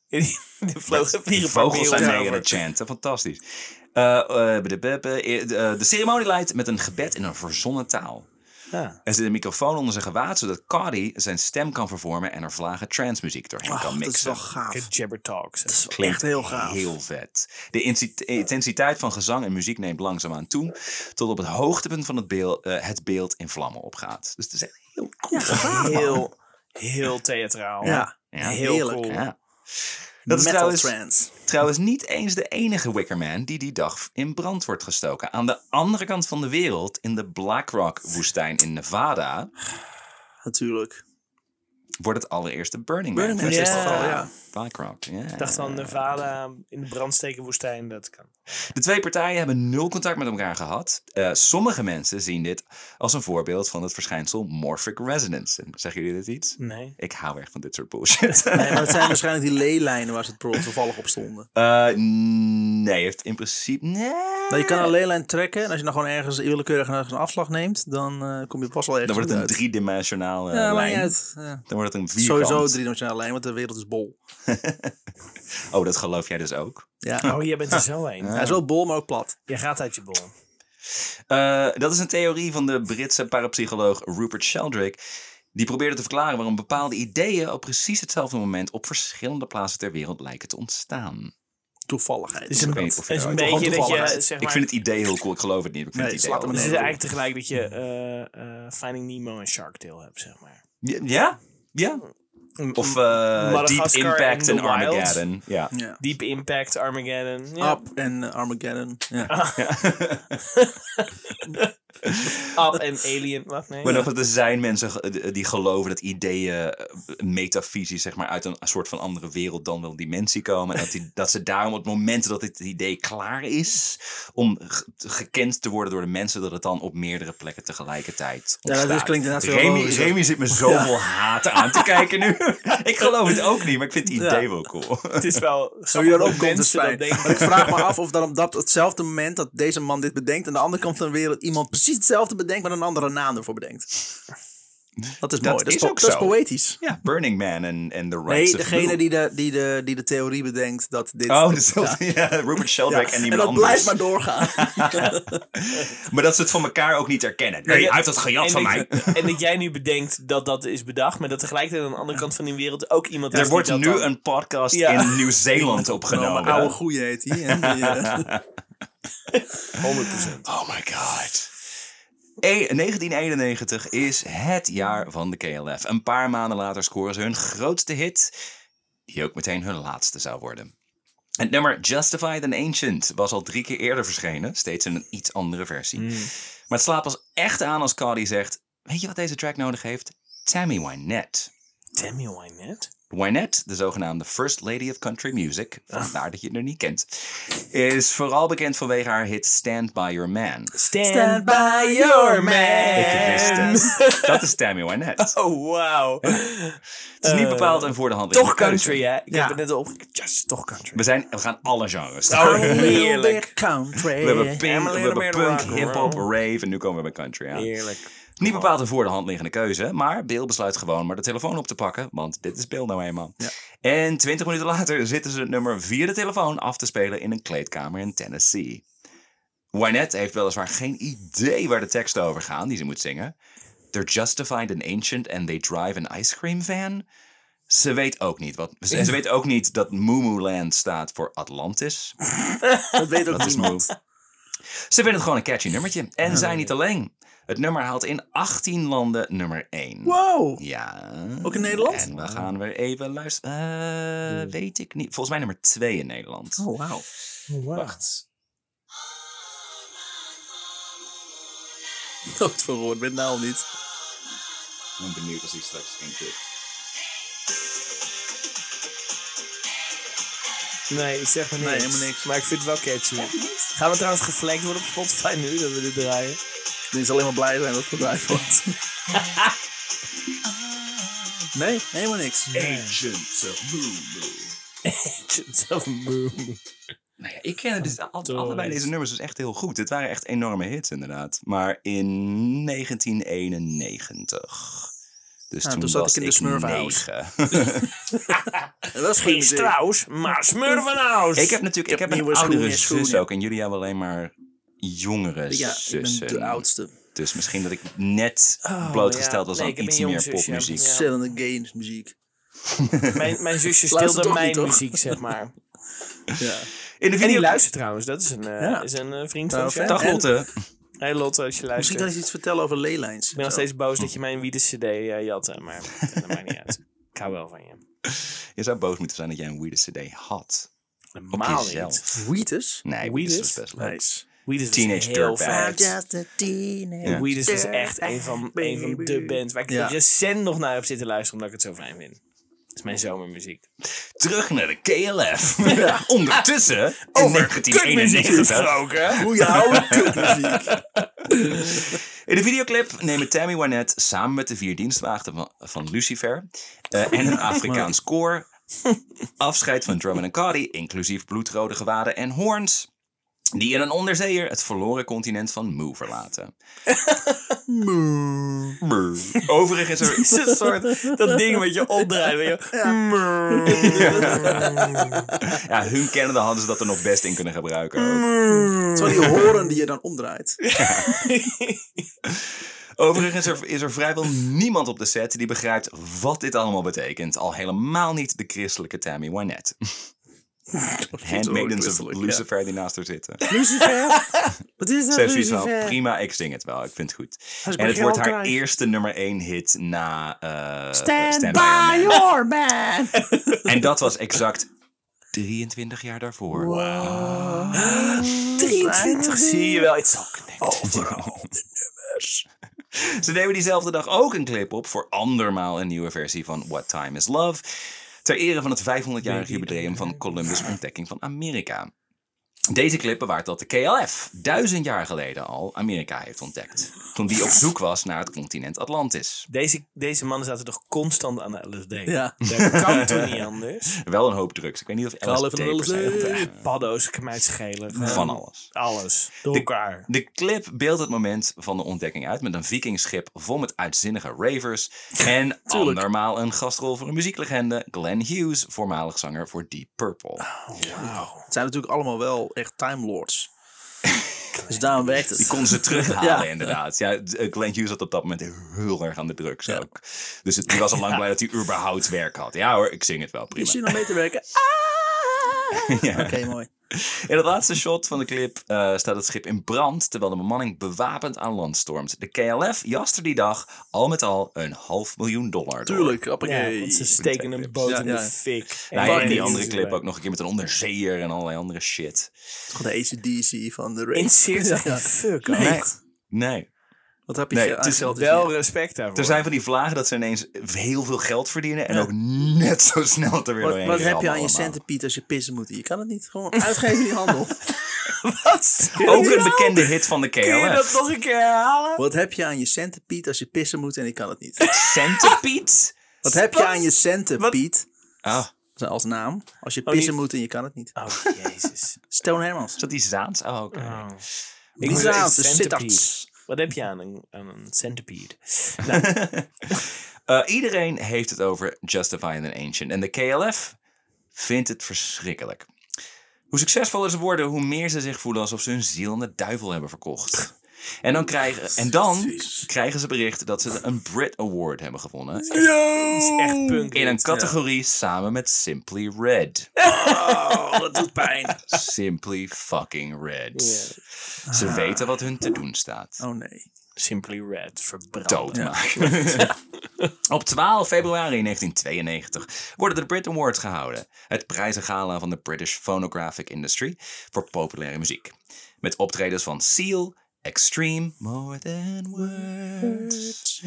C: De vlogen
B: Die
C: vliegen van
B: vogels zijn
C: mij
B: mee aan het chanten, fantastisch. Eh, eh, de- de- de- eh, de- de ceremonie leidt met een gebed in een verzonnen taal.
C: Ja.
B: Er zit een microfoon onder zijn gewaad, zodat Cardi zijn stem kan vervormen en er vlagen trancemuziek doorheen
A: Ah,
B: kan
A: dat is
B: mixen.
A: wel gaaf.
C: Jabber Talks.
B: Klinkt
A: Echt heel gaaf.
B: Heel vet. De insi- intensiteit van gezang en muziek neemt langzaamaan toe, tot op het hoogtepunt van het beeld, eh, het beeld in vlammen opgaat. Dus het is echt heel cool.
C: heel, heel theatraal.
A: Ja.
B: Ja,
C: heel
A: heerlijk.
C: cool.
B: Ja. Dat is
A: Metal
B: trouwens,
A: trance.
B: trouwens niet eens de enige Wickerman die die dag in brand wordt gestoken. Aan de andere kant van de wereld, in de Black Rock woestijn in Nevada,
A: Natuurlijk.
B: wordt het allereerste Burning Man.
A: Burning Man
B: festival.
C: festival,
A: ja.
B: Blackrock, ja.
C: Ik dacht dan Nevada in de brandsteken woestijn, dat kan.
B: De twee partijen hebben nul contact met elkaar gehad. Eh, sommige mensen zien dit als een voorbeeld van het verschijnsel Morphic Resonance. En zeggen jullie dit iets?
C: Nee.
B: Ik hou echt van dit soort
A: <laughs>
B: bullshit.
A: Nee, maar het zijn waarschijnlijk die leelijnen waar ze het per- toevallig op stonden.
B: Eh, nee, heeft in principe... Nee.
A: Nou, je kan een leelijn trekken en als je dan gewoon ergens willekeurig ergens een afslag neemt, dan eh, kom je pas wel ergens
B: Dan wordt het
A: goed
B: een
A: uit.
B: driedimensionale
A: Ja, maakt
B: lijn.
A: niet uit. Ja.
B: Dan wordt het een vierkant.
A: Sowieso driedimensionale lijn, want de wereld is bol.
B: Oh, dat geloof jij dus ook.
A: Ja.
C: Oh, jij bent er zo heen.
A: Hij is wel bol, maar ook plat.
C: Je gaat uit je bol. Dus
B: Eh, dat is een theorie van de Britse parapsycholoog Rupert Sheldrake. Die probeerde te verklaren waarom bepaalde ideeën op precies hetzelfde moment op verschillende plaatsen ter wereld lijken te ontstaan.
A: Toevalligheid.
C: Dus een,
B: weet niet of je
C: is een
B: eruit-
C: beetje dat
A: toevallig
C: je,
A: uit.
C: zeg
B: Ik
C: maar...
B: vind het idee heel cool, ik geloof het niet. maar Ik vind
A: Nee,
B: het idee
A: slaat
B: heel
A: hem
C: dus
B: cool.
C: het
A: Nee,
C: is
A: dat
C: eigenlijk tegelijk dat je eh, eh, Finding Nemo en Shark Tale hebt, zeg maar.
B: Ja? Ja? Of eh Deep
C: Madagascar
B: Impact
C: and
B: en
C: the Wild.
B: Armageddon. Ja.
A: ja.
C: Deep Impact, Armageddon. Ja.
A: Up en eh, Armageddon. Ja.
C: Up en Alien. Wat? Nee.
B: Maar nog, er zijn mensen ge- eh, die geloven dat ideeën eh, metafysisch zeg maar, uit een soort van andere wereld dan wel dimensie komen. En dat, die, dat ze daarom op het moment dat het idee klaar is, om ge- gekend te worden door de mensen, dat het dan op meerdere plekken tegelijkertijd
A: dat is-
B: ontstaat.
A: klinkt inderdaad veel
B: Remy,
A: logischer.
B: Remy zit me zoveel haat aan te
A: <laughs>
B: kijken nu. ik geloof het ook niet, maar ik vind het idee
A: Ja.
B: wel cool.
C: het is wel
A: Zo je
C: grappig
A: erop
C: dat
A: komt, is
C: mensen
A: fijn.
C: dat
A: Maar ik
C: denken.
A: vraag me af of dan op dat, hetzelfde moment dat deze man dit bedenkt... aan de andere kant van de wereld iemand precies hetzelfde bedenkt... maar een andere naam ervoor bedenkt. Dat is mooi. Dat, is,
B: is
A: po-
B: ook
A: dat is
B: zo.
A: poëtisch.
B: Ja, Burning Man en, en The Rights
A: Nee,
B: of
A: degene
B: Blue.
A: die de, die, de, die de theorie bedenkt dat dit...
B: Oh, dezelfde, <laughs> ja. Rupert
A: Ja,
B: Sheldrake en
A: en
B: iemand
A: dat
B: anders.
A: blijft maar
B: <laughs>
A: doorgaan.
B: Maar dat ze het van elkaar ook niet herkennen. Nee,
C: ja,
B: hij heeft dat gejat
C: en
B: van mij.
C: dat- en dat jij nu bedenkt dat dat is bedacht, maar dat tegelijkertijd aan de andere kant van die wereld ook iemand is
B: Er
C: die
B: wordt
C: dat
B: nu
C: dan-
B: een podcast
C: Ja. <laughs>
B: in Nieuw-Zeeland
A: Nou,
B: opgenomen.
A: mijn oude goeie heet hij. En die,
B: <laughs>
A: eh,
C: 100%.
B: Oh my god. E- 1991 is het jaar van de KLF. Een paar maanden later scoren ze hun grootste hit, die ook meteen hun laatste zou worden. Het nummer Justified and Ancient was al drie keer eerder verschenen, steeds in een iets andere versie.
C: Mm.
B: Maar het slaat pas echt aan als Cardi zegt: Weet je wat deze track nodig heeft? Tammy Wynette.
C: Tammy Wynette?
B: Wynette, de zogenaamde First Lady of Country Music, vandaar dat je het nog niet kent, is vooral bekend vanwege haar hit Stand By Your Man.
C: Stand,
A: Stand
C: by
A: by
C: your
A: your
C: man.
A: man.
B: Ik wist het. Dat is Tammy Wynette.
C: <laughs> Oh, wauw.
B: <laughs> Het is niet
C: Eh,
B: bepaald en voor de hand.
C: Toch
B: liggende keuze.
C: country, hè? Ik
A: Ja.
C: heb het net al opgekeken. Just toch country.
B: We, zijn, we gaan alle genres.
C: Oh,
A: I'm a little bit
C: heerlijk.
A: country.
B: We hebben pink,
C: I'm a
B: we
C: little
B: hebben
C: bit rock
B: punk,
C: and
B: hip-hop,
C: roll.
B: rave en nu komen we bij country aan.
C: Heerlijk.
B: Niet bepaald een voor de hand liggende keuze, maar Bill besluit gewoon maar de telefoon op te pakken, want dit is Bill nou eenmaal. En 20 minuten later zitten ze het nummer via de telefoon af te spelen in een kleedkamer in Tennessee. Wynette heeft weliswaar geen idee waar de teksten over gaan die ze moet zingen. They're justified and ancient and they drive an ice cream van. Ze weet ook niet wat. Ze, ze weet ook niet dat Moo Land staat voor Atlantis.
A: Dat Ah, weet ook
B: Dat is
A: niemand.
B: moe. Ze vinden het gewoon een catchy nummertje. En zijn niet alleen. Het nummer haalt in 18 landen nummer 1.
A: Wow.
B: Ja.
A: Ook in Nederland? Dus-
B: En we gaan weer even luisteren. Eh, weet ik niet. Volgens mij nummer 2 in Nederland.
A: Oh, wauw.
C: Wacht.
A: <laughs> Nooit verwoord, met nou niet.
B: Ik ben benieuwd als hij straks intikt.
C: Nee, het zegt me niks.
A: Nee, helemaal niks.
C: Maar ik vind het wel catchy. Gaan we trouwens geflankt worden op Spotify nu dat we dit <laughs> draaien?
A: Die zal alleen maar blij zijn dat het gebruikt wordt. Nee, helemaal niks.
B: Agents of
C: Agents of Moon.
B: Nou ja, ik ken dus al,
C: Fantastisch.
B: allebei deze nummers dus echt heel goed. Dit waren echt enorme hits inderdaad. Maar in 1991. Dus
A: Ah,
B: toen,
A: toen zat
B: was
A: ik in de Smurfhouse. <laughs>
B: negen.
A: Dat is
C: Geen
A: geen zin.
C: Strauss, maar Smurvenhaus.
B: Ik heb natuurlijk ik heb een
A: nieuwe
B: oudere
A: schoenen,
B: zus
A: schoenen.
B: ook. En jullie hebben alleen maar jongere
A: Ja, ik
B: zussen.
A: ben de oudste.
B: Dus misschien dat ik net
C: Oh,
B: blootgesteld
C: ja.
B: was
C: Nee, ik
B: aan
C: heb
B: iets
C: een jong
B: meer
C: zusje, ja.
B: popmuziek.
C: Ja.
A: Zelfde games muziek.
C: Mijn, mijn
B: <laughs>
C: zusje
A: Luistert
C: stilde
A: toch
C: mijn
A: niet, toch?
C: muziek, zeg maar.
A: Ja.
B: In de
C: En die
B: video
C: luistert trouwens, dat is een, eh,
A: Ja.
C: is een eh, vriend van
A: Nou,
C: ons. hè?
A: vet.
B: Dag Lotte.
C: Hey Lotte, als je
A: Misschien
C: luistert.
A: kan Oh. je iets vertellen over leylijns.
C: Ik ben nog steeds boos dat je mijn Wiedes CD eh, jatte, maar <laughs> dat maakt niet uit. Ik hou wel van je.
B: Je zou boos moeten zijn dat jij een Weedus CD had. Op
C: Normaal niet.
B: jezelf.
A: Wheatus?
B: Nee,
C: Weedus?
B: Weedus was best leuk.
A: Nice.
C: Weed is dus
B: Teenage
C: heel
B: Dirtbag.
C: vet.
A: just a teenage Oh,
B: Ja.
C: Weed is dus echt een van, een van de bands waar ik
A: Ja.
C: recent nog naar heb zitten luisteren omdat ik het zo fijn vind. Dat is mijn
A: <laughs>
C: zomermuziek.
B: Terug naar de
C: <laughs>
B: KLF. Ondertussen, in
C: Over <laughs> kutmuziek
B: 1991,
C: gesproken.
A: Goeie oude kutmuziek.
B: In de videoclip nemen Tammy Wynette samen met de vier dienstwachten van, van Lucifer eh, en een Afrikaans koor afscheid van Drummond en Cardi, inclusief bloedrode gewaden en hoorns, die in een onderzeeër het verloren continent van Moo verlaten. Moo. Overigens
C: Het is
B: er...
C: een soort dat ding wat je opdraait. weet je.
B: <laughs>
C: Mm,
B: Ja, hun kennende hadden ze dat er nog best in kunnen gebruiken. ook.
A: Zo die horen die je dan omdraait.
B: Overigens er, is er vrijwel niemand op de set die begrijpt wat dit allemaal betekent. Al helemaal niet de christelijke Tammy Wynette. Handmaidens of
A: christelijk, ja.
B: Lucifer die naast haar zitten.
A: Lucifer.
B: <laughs>
A: Wat is dat,
B: Ze heeft zoiets van, prima, ik zing het wel. Ik vind het goed. En het wordt haar eerste nummer 1 hit na eh,
C: Ah,
B: Man.
A: your man.
B: En dat was exact 23 jaar daarvoor.
C: Zie je wel, it's all connected.
B: Ze nemen diezelfde dag ook een clip op voor andermaal een nieuwe versie van What Time Is Love. Ter ere van het 500-jarig jubileum van Columbus' ontdekking van Amerika. Deze clip bewaart dat de KLF duizend jaar geleden al Amerika heeft ontdekt. Toen die op zoek was naar het continent Atlantis.
C: Deze, deze mannen zaten toch constant aan de LSD?
A: Ja.
C: Dat kan toch niet anders?
B: Wel een hoop drugs. Ik weet niet of
A: Call it
B: LSD per
A: an
B: se-
A: LSD.
C: Paddo's, kmuitschelen.
B: Van alles.
C: Alles. Door elkaar.
B: De clip beeldt het moment van de ontdekking uit met een vikingschip vol met uitzinnige ravers.
A: <laughs>
B: En andermaal een gastrol voor een muzieklegende, Glenn Hughes, voormalig zanger voor Deep Purple.
A: Ah, Het zijn natuurlijk allemaal wel echt Time Lords. Dus daarom werkt het.
B: Die
A: <laughs>
B: kon ze terughalen,
A: Ja.
B: inderdaad. Ja, d- eh, Glenn Hughes had op dat moment heel erg aan de drugs ook. Dus het, die was al lang blij dat hij überhaupt werk had. Ja hoor, ik zing het
A: Is
B: wel prima. <laughs>
A: hier nog mee te werken? Ah!
B: Ja.
A: Oké, mooi.
B: In het laatste shot van de clip eh, staat het schip in brand, terwijl de bemanning bewapend aan land stormt. De KLF jaste die dag al met al een half miljoen dollar door.
A: Tuurlijk,
C: Ja,
A: appakee.
C: want ze steken een boot
A: Ja,
C: in de
A: ja.
C: fik.
B: Nou,
A: Waar
B: en die
A: is
B: andere
A: het
B: clip ook nog een keer met een onderzeeër en allerlei andere shit.
A: Toch de ACDC van de
C: In
A: race.
C: serieus geen fuck.
A: Nee.
C: Nee.
B: Nee.
A: Wat heb je ah,
B: Nee,
A: aan
B: het is
A: geld is
C: Wel
A: hier?
C: respect daarvoor.
B: Er zijn van die vlagen dat ze ineens heel veel geld verdienen en ook net zo snel er weer
A: Wat,
B: doorheen
A: wat heb
B: rammen
A: je aan je
B: allemaal.
A: centenpiet als je pissen moet? Je kan het niet. Gewoon uitgeven die handel.
C: <laughs> Wat?
B: Ook een bekende hit van de
C: Kun je dat
B: KLF.
C: nog een keer herhalen?
A: Wat heb je aan je centenpiet als je pissen moet en ik kan het niet?
B: Centipede?
A: Wat heb je aan je centenpiet
B: Ah,
A: als naam als je
C: Oh,
A: pissen
C: niet-
A: moet en je kan het niet?
C: Oh,
B: <laughs>
C: jezus.
A: Stone Hermans.
B: is dat die Zaans? Oh, oké.
C: Ik
A: Die
C: moet zeggen,
A: zaad, de
C: centipede.
A: sitarts.
C: Wat heb je aan een, aan een centipede?
B: Eh, iedereen heeft het over Justifying an Ancient. En de KLF vindt het verschrikkelijk. Hoe succesvoller ze worden, hoe meer ze zich voelen alsof ze hun ziel aan de duivel hebben verkocht. En dan krijgen, en dan krijgen ze bericht dat ze een Brit Award hebben gewonnen.
C: Het is echt punk.
B: In een categorie samen met Simply Red.
A: Oh, <laughs> dat doet pijn.
B: Simply fucking Red. Ze weten wat hun te doen staat.
A: Oh nee.
C: Simply Red, verbrand.
B: doodmaken. <laughs> Op 12 februari 1992 worden de Brit Awards gehouden. Het prijzengala van de British Phonographic Industry voor populaire muziek. Met optredens van Seal, Extreme, More Than Words,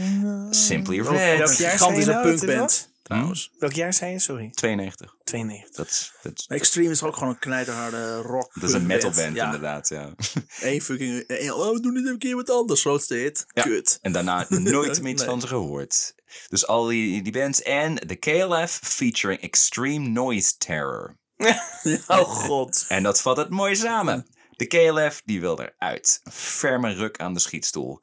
B: Simply
A: Oh,
C: Welk
B: Red.
C: jaar
A: Gigantische
C: zei je nou dat dit
A: punkband. Trouwens.
C: Welk jaar zei je? Sorry.
B: 92.
C: 92.
B: Dat is, dat is,
A: Extreme is ook gewoon een knijterharde rock.
B: dat is een metalband
A: ja.
B: inderdaad, ja.
A: Eén fucking... één- oh, we doen dit een keer wat anders. Grootste hit.
B: Ja.
A: Kut. <laughs>
B: En daarna nooit meer iets
A: Nee.
B: van ze gehoord. Dus al die, die bands en de KLF featuring Extreme Noise Terror.
C: Oh god.
B: En dat vat het mooi samen. De KLF die wil eruit. Een ferme ruk aan de schietstoel.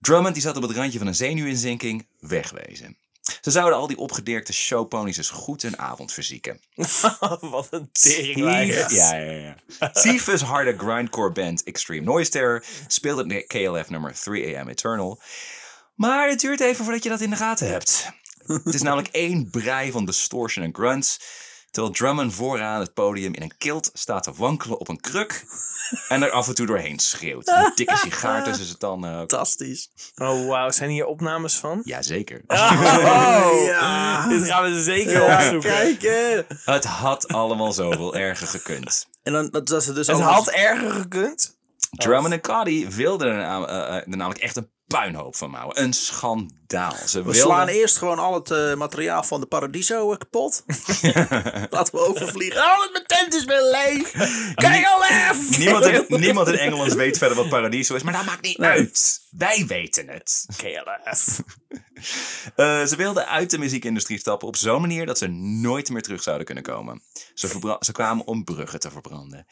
B: Drummond die zat op het randje van een zenuwinzinking. Wegwezen. Ze zouden al die opgedirkte showponies eens goed hun avond verzieken.
C: <laughs> Wat een
B: Tyfus-
C: teringleier.
B: Ja, ja, ja. <laughs> Tyfus harde grindcore band Extreme Noise Terror speelt het KLF nummer 3AM Eternal. Maar het duurt even voordat je dat in de gaten hebt. Het is namelijk één brei van distortion en grunts. Terwijl Drummond vooraan het podium in een kilt staat te wankelen op een kruk. En er af en toe doorheen schreeuwt. Een dikke sigaar tussen zijn tanden. ook.
A: Fantastisch.
C: Oh wauw, zijn hier opnames van?
B: <laughs> Jazeker.
C: <laughs> Oh,
A: Ja.
C: Dit gaan we zeker
A: Ja,
C: opzoeken.
A: kijk. hè.
B: Het had allemaal zoveel erger gekund.
A: En dan dat, dat ze dus
C: Het
A: allemaal-
C: had erger gekund.
B: Drummond en Cardi wilden er, nam- eh, eh, er namelijk echt een puinhoop van maken. Een schandaal. Ze
A: We
B: wilden-
A: slaan eerst gewoon al het eh, materiaal van de Paradiso eh,
B: <laughs>
A: kapot. Laten we overvliegen. Oh, het- mijn tent is weer leeg.
C: Oh,
A: Kijk al af!
B: Niemand
A: <laughs>
B: in, niemand in Engeland weet verder wat Paradiso is, maar dat maakt niet uit. Wij weten het.
C: KLF.
B: Eh, ze wilden uit de muziekindustrie stappen op zo'n manier dat ze nooit meer terug zouden kunnen komen. Ze, verbra- ze kwamen om bruggen te verbranden.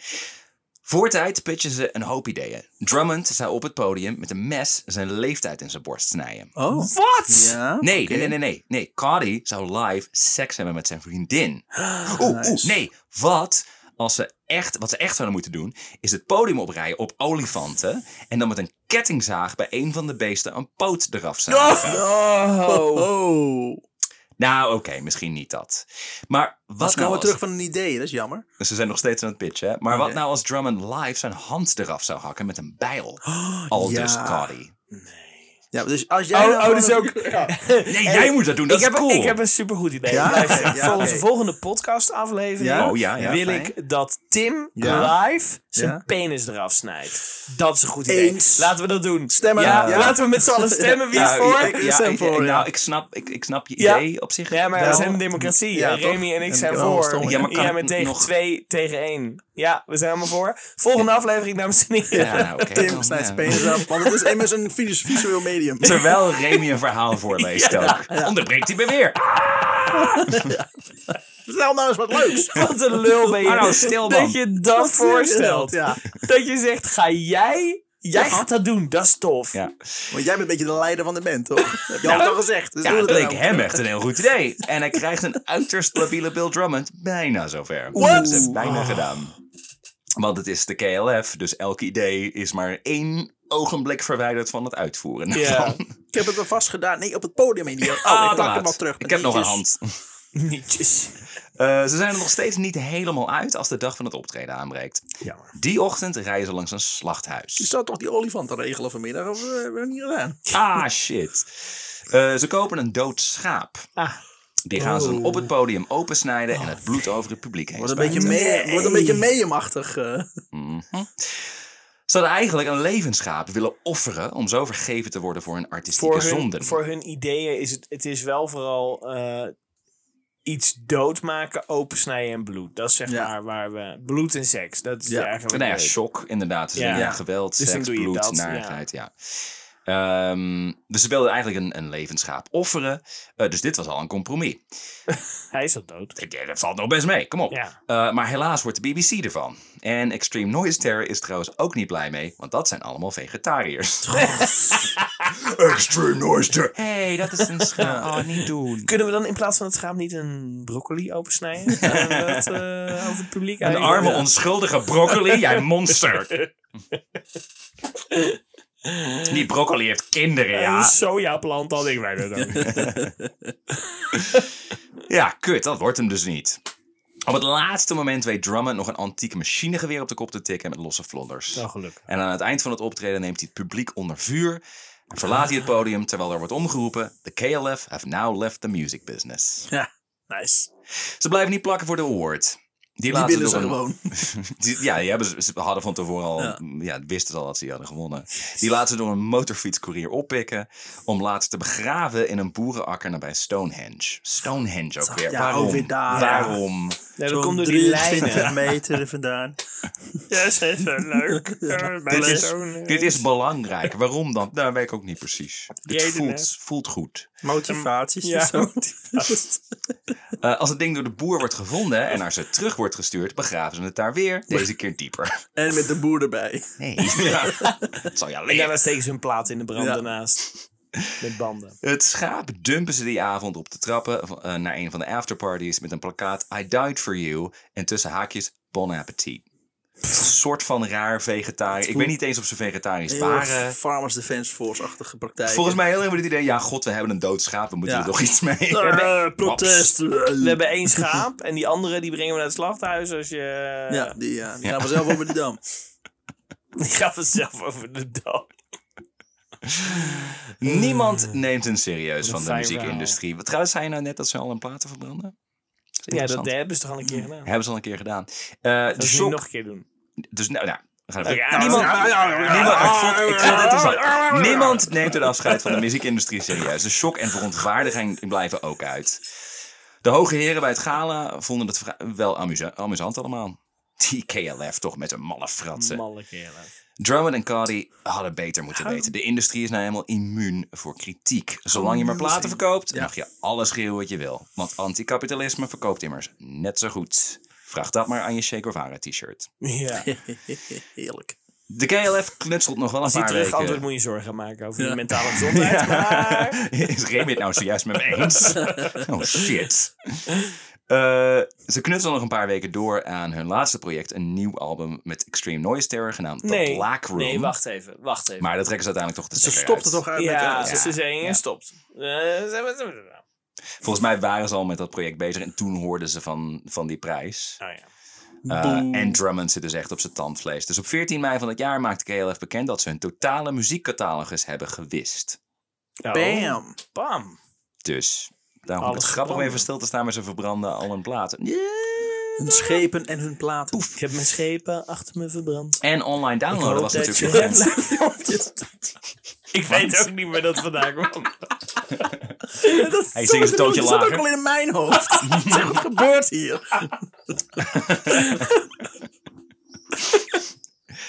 B: Voortijd pitchen ze een hoop ideeën. Drummond zou op het podium met een mes zijn leeftijd in zijn borst snijden.
A: Oh.
C: Wat?
A: Ja,
B: Nee,
A: oké.
B: nee, nee, nee, nee. Nee, Cardi zou live seks hebben met zijn vriendin. Oeh, oeh,
A: Ah, Nice.
B: nee. Wat als ze echt, wat ze echt zouden moeten doen, is het podium oprijden op olifanten en dan met een kettingzaag bij een van de beesten een poot eraf zagen.
A: Oh.
C: Oh.
B: Nou, oké, misschien niet dat. Maar
A: Wat
B: wat
A: komen
B: nou
A: we
B: als...
A: terug van een idee, dat is jammer.
B: Ze zijn nog steeds aan het pitchen, hè? Maar wat
A: Oké.
B: nou als Drummond live zijn hand eraf zou hakken met een bijl? Al dus
A: ja.
B: Cardi.
A: Ja, dus als jij
C: Oh,
A: nou
C: oh, dat is
A: gewoon-
C: ook... <laughs>
B: Nee, jij moet dat doen, dat
C: ik,
B: is
C: heb,
B: cool.
C: ik heb een supergoed idee.
A: Ja?
C: Luister,
A: Ja,
C: voor
A: oké.
C: onze volgende podcastaflevering
A: Ja?
B: Oh, ja, ja.
C: wil
A: fijn.
C: ik dat Tim
A: Ja.
C: live zijn
A: Ja.
C: penis eraf snijdt. Dat is een goed idee.
A: Eens.
C: Laten we dat doen.
A: Stemmen.
C: Ja,
A: Ja.
C: Laten we met z'n allen stemmen. Wie is
B: Nou,
C: voor?
B: ik- ik- ja,
A: Sam
B: ik-
A: voor,
B: ik-
A: ja.
B: nou, ik snap, ik, ik snap je
C: Ja.
B: idee op zich.
C: Ja, maar
B: wel.
C: we zijn een democratie.
A: Ja,
C: en Remy
A: toch?
C: en ik
A: En
C: zijn
A: ik ben wel
C: voor.
A: stom,
B: ja.
C: Ja,
B: Ja, maar
C: maar
B: kan
C: Jij
B: ik
C: bent tegen
B: nog-
C: twee, tegen één. Ja, we zijn allemaal voor. Volgende aflevering, dames en heren.
B: Ja, nou, oké,
A: Tim
B: dan,
A: snijdt zijn
B: ja.
A: penis af, want het is immers een vis- visueel medium.
B: Terwijl Remy een verhaal voorleest ook. Onderbreekt hij me weer.
A: <laughs> Vertel nou eens wat leuks.
C: <laughs> Wat een lul ben je.
B: Maar nou, stil, man.
C: Dat je dat voorstelt.
A: Ja.
C: Dat je zegt, ga jij... Jij gaat dat doen, dat is tof.
B: Ja.
A: Want jij bent een beetje de leider van de band, toch?
B: <laughs>
A: Heb je altijd al gezegd. Dus
B: Ja,
A: doe
B: dat
A: het
B: leek
A: nou.
B: hem echt een heel goed idee. En hij krijgt een uiterst labiele Bill Drummond bijna zover.
A: What?
B: Dat is bijna gedaan. Want het is de KLF, dus elk idee is maar één ogenblik verwijderd van het <laughs> uitvoeren.
C: Ja.
A: Ik heb het er vast gedaan. Nee, op het podium, idioot. Oh,
B: Ah,
A: ik
B: te
A: pak
B: laat.
A: hem al terug.
B: Ik heb nog een
A: Netjes.
B: hand.
C: Nietjes.
B: Eh, ze zijn er nog steeds niet helemaal uit als de dag van het optreden aanbreekt.
C: Jammer.
B: Die ochtend rijden ze langs een slachthuis.
A: Je zou toch die olifanten regelen vanmiddag? Of eh, hebben we dat niet gedaan?
B: Ah, shit. Eh, ze kopen een dood schaap.
C: Ah.
B: Die gaan ze dan op het podium opensnijden en het bloed over het publiek heen
A: Oh. Wordt een
B: spuiten.
A: beetje, mee,
C: Nee.
A: wordt een beetje meeëmachtig. eh.
B: Mhm. Ze hadden eigenlijk een levensschaap willen offeren om zo vergeven te worden voor hun artistieke
C: Voor
B: zonden.
C: hun, voor hun ideeën is het... Het is wel vooral... eh, iets doodmaken, opensnijden en bloed. Dat is zeg
A: Ja.
C: maar waar we... Bloed en seks. Dat is
A: Ja.
C: eigenlijk...
B: Nou ja,
C: leuk.
B: shock inderdaad. Dus
C: Ja.
B: ja, geweld,
C: Dus dan
B: seks,
C: doe je
B: bloed,
C: dat, ja.
B: narigheid, ja. Ehm, dus ze wilden eigenlijk een, een levensschaap offeren. Eh, dus dit was al een compromis.
C: Hij is al dood.
B: Ik denk, Dat valt nog best mee, kom op.
C: Ja.
B: Eh, maar helaas wordt de BBC ervan. En Extreme Noise Terror is trouwens ook niet blij mee, want dat zijn allemaal vegetariërs. <laughs> Extreme Noise Terror. Hé, hey, dat is een <laughs> schaap. Oh, niet doen.
C: Kunnen we dan in plaats van het schaap niet een broccoli opensnijden? en dat eh, over het publiek
B: Een
C: eigenlijk?
B: arme,
C: Ja.
B: onschuldige
A: <laughs>
B: broccoli, jij monster. Die broccoli heeft kinderen,
C: Een
B: ja.
C: sojaplant had ik wij dat ook.
B: Ja, kut, dat wordt hem dus niet. Op het laatste moment weet Drummond nog een antiek machinegeweer op de kop te tikken met losse vlonders.
C: Nou, gelukkig.
B: En aan het eind van het optreden neemt hij het publiek onder vuur. En verlaat hij het podium terwijl er wordt omgeroepen: The KLF have now left the music business.
A: Ja, nice.
B: Ze blijven niet plakken voor de award. Die,
A: Die
B: laten
A: willen
B: door
A: ze
B: een-
A: gewoon.
B: Die- ja, die hebben ze, ze hadden van tevoren al, ja.
A: Ja.
B: wisten ze al dat ze die hadden gewonnen. Die laten ze door een motorfietscourier oppikken om later te begraven in een boerenakker nabij Stonehenge. Stonehenge ook weer.
A: Ja,
B: Waarom?
A: ook weer daar.
B: Waarom?
C: Ja,
A: Zo'n
C: dan komt door die
A: 23
C: lijnen.
A: <laughs> meter vandaan.
C: <laughs> Ja, dat is leuk.
B: Dit is,
C: eh,
B: dit is belangrijk. Waarom dan? Nou, weet ik ook niet precies. Dit
C: Jeden, hè?
B: voelt, voelt goed.
A: Motivaties.
C: Ja. <laughs>
A: en zo.
B: Eh, als het ding door de boer wordt gevonden en naar ze terug wordt gestuurd, begraven ze het daar weer. Deze
A: <laughs>
B: keer dieper.
A: En met de boer erbij.
B: Nee. Ja. Dat zal je
C: En
B: alleen
C: daarna steken ze hun plaat in de brand
A: Ja.
C: daarnaast. Met banden.
B: Het schaap dumpen ze die avond op de trappen eh, naar een van de afterparties met een plakkaat I died for you en tussen haakjes Bon Appetit. Een soort van raar vegetarisch. Ik weet niet eens of ze vegetarisch
A: Heel
B: waren.
A: Farmers Defense Force-achtige praktijk.
B: eh, Volgens mij heel erg met het idee, ja god, we hebben een dood schaap, we moeten
A: Ja.
B: er toch iets mee.
A: Eh, protest.
C: We hebben één schaap en die andere die brengen we naar het slachthuis als je...
A: Ja, die, ja, die gaan vanzelf over de dam.
C: <laughs> Die gaat vanzelf over de dam.
B: <laughs> Niemand neemt hen serieus van de
C: fijn
B: muziekindustrie. Wat trouwens zei je nou net dat ze al een platen verbranden? Is
C: Ja, dat
B: interessant.
C: hebben ze toch al een keer gedaan.
B: hebben ze al een keer gedaan. Eh,
C: Dat
B: de
C: ze nu
B: shock
C: nog een keer doen.
B: Dus nou, nou, We gaan even-
C: Ja,
B: niemand,
C: ja, ja, ja, ja.
B: niemand,
C: Ah,
B: God, ik vind het
C: ah,
B: zo-
C: ah, ah,
B: niemand neemt het afscheid van de muziekindustrie serieus. De shock en verontwaardiging blijven ook uit. De hoge heren bij het gala vonden het vra- wel amusa- amusant allemaal. Die KLF toch met een malle fratsen.
C: Malle kerel.
B: Drummond en Cardi hadden beter moeten weten. De industrie is nou helemaal immuun voor kritiek. Zolang je maar platen verkoopt, mag je alles schreeuwen wat je wil. Want anticapitalisme verkoopt immers net zo goed. Vraag dat maar aan je Che Guevara t-shirt.
C: Ja.
A: Heerlijk.
B: De KLF knutselt nog wel een
C: Als hij
B: paar
C: terug
B: weken.
C: antwoord moet je zorgen maken over je
A: Ja.
B: <laughs>
C: mentale gezondheid. Maar...
B: Is Remy het nou zojuist met me
C: <laughs>
B: eens? Oh shit. Eh, ze knutselen nog een paar weken door aan hun laatste project. Een nieuw album met Extreme Noise Terror genaamd The
C: Nee.
B: Black Room.
C: Nee, wacht even. Wacht even.
B: Maar dat trekken ze uiteindelijk toch de
A: Ze
B: stekker
A: stopt
B: uit.
A: er toch uit met
C: ja,
A: eh,
B: ja.
C: ze zijn ja. stopt. Eh, ze-
B: Volgens mij waren ze al met dat project bezig en toen hoorden ze van, van die prijs.
C: Nou ja.
B: Eh,
A: Boe.
B: en Drummond zit dus echt op zijn tandvlees. Dus op 14 mei van het jaar maakte KLF bekend dat ze hun totale muziekcatalogus hebben gewist.
C: Oh,
A: Bam.
C: Bam.
B: Dus daarom wordt
C: Alles
B: het grappig om
C: verbranden.
B: even stil te staan, maar ze verbranden al hun platen.
A: Hun schepen en hun platen. Oh,
C: Ik heb mijn schepen achter me verbrand.
B: En online downloaden was natuurlijk
C: je-
B: de
C: <laughs>
B: grens. <laughs>
C: Ik weet ook niet meer dat vandaag kwam.
A: <laughs> Dat
B: Hey, zing eens een toontje
A: dat zat
B: lager.
A: ook al in mijn hoofd.
B: <laughs>
A: Wat gebeurt hier?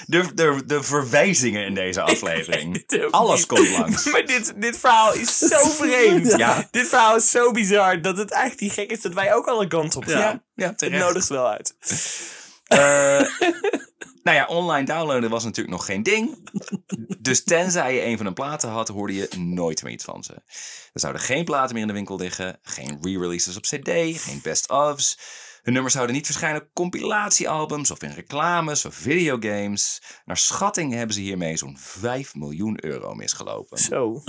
B: De, de, de verwijzingen in
C: <laughs>
B: deze aflevering.
C: weet het ook
B: Alles
C: niet.
B: komt langs.
C: <laughs> Maar dit, dit verhaal is zo
B: <laughs>
C: vreemd.
B: Ja.
C: Dit verhaal is zo bizar dat het eigenlijk niet gek is dat wij ook alle kanten op gaan.
A: Ja.
B: Ja,
C: Het
B: terecht.
C: nodigt wel uit. <laughs>
B: Eh, nou ja, online downloaden was natuurlijk nog geen ding. Dus tenzij je een van hun platen had, hoorde je nooit meer iets van ze. Er zouden geen platen meer in de winkel liggen, geen re-releases op CD, geen best-ofs. Hun nummers zouden niet verschijnen op compilatiealbums of in reclames of videogames. Naar schatting hebben ze hiermee zo'n 5 miljoen euro misgelopen.
C: Zo.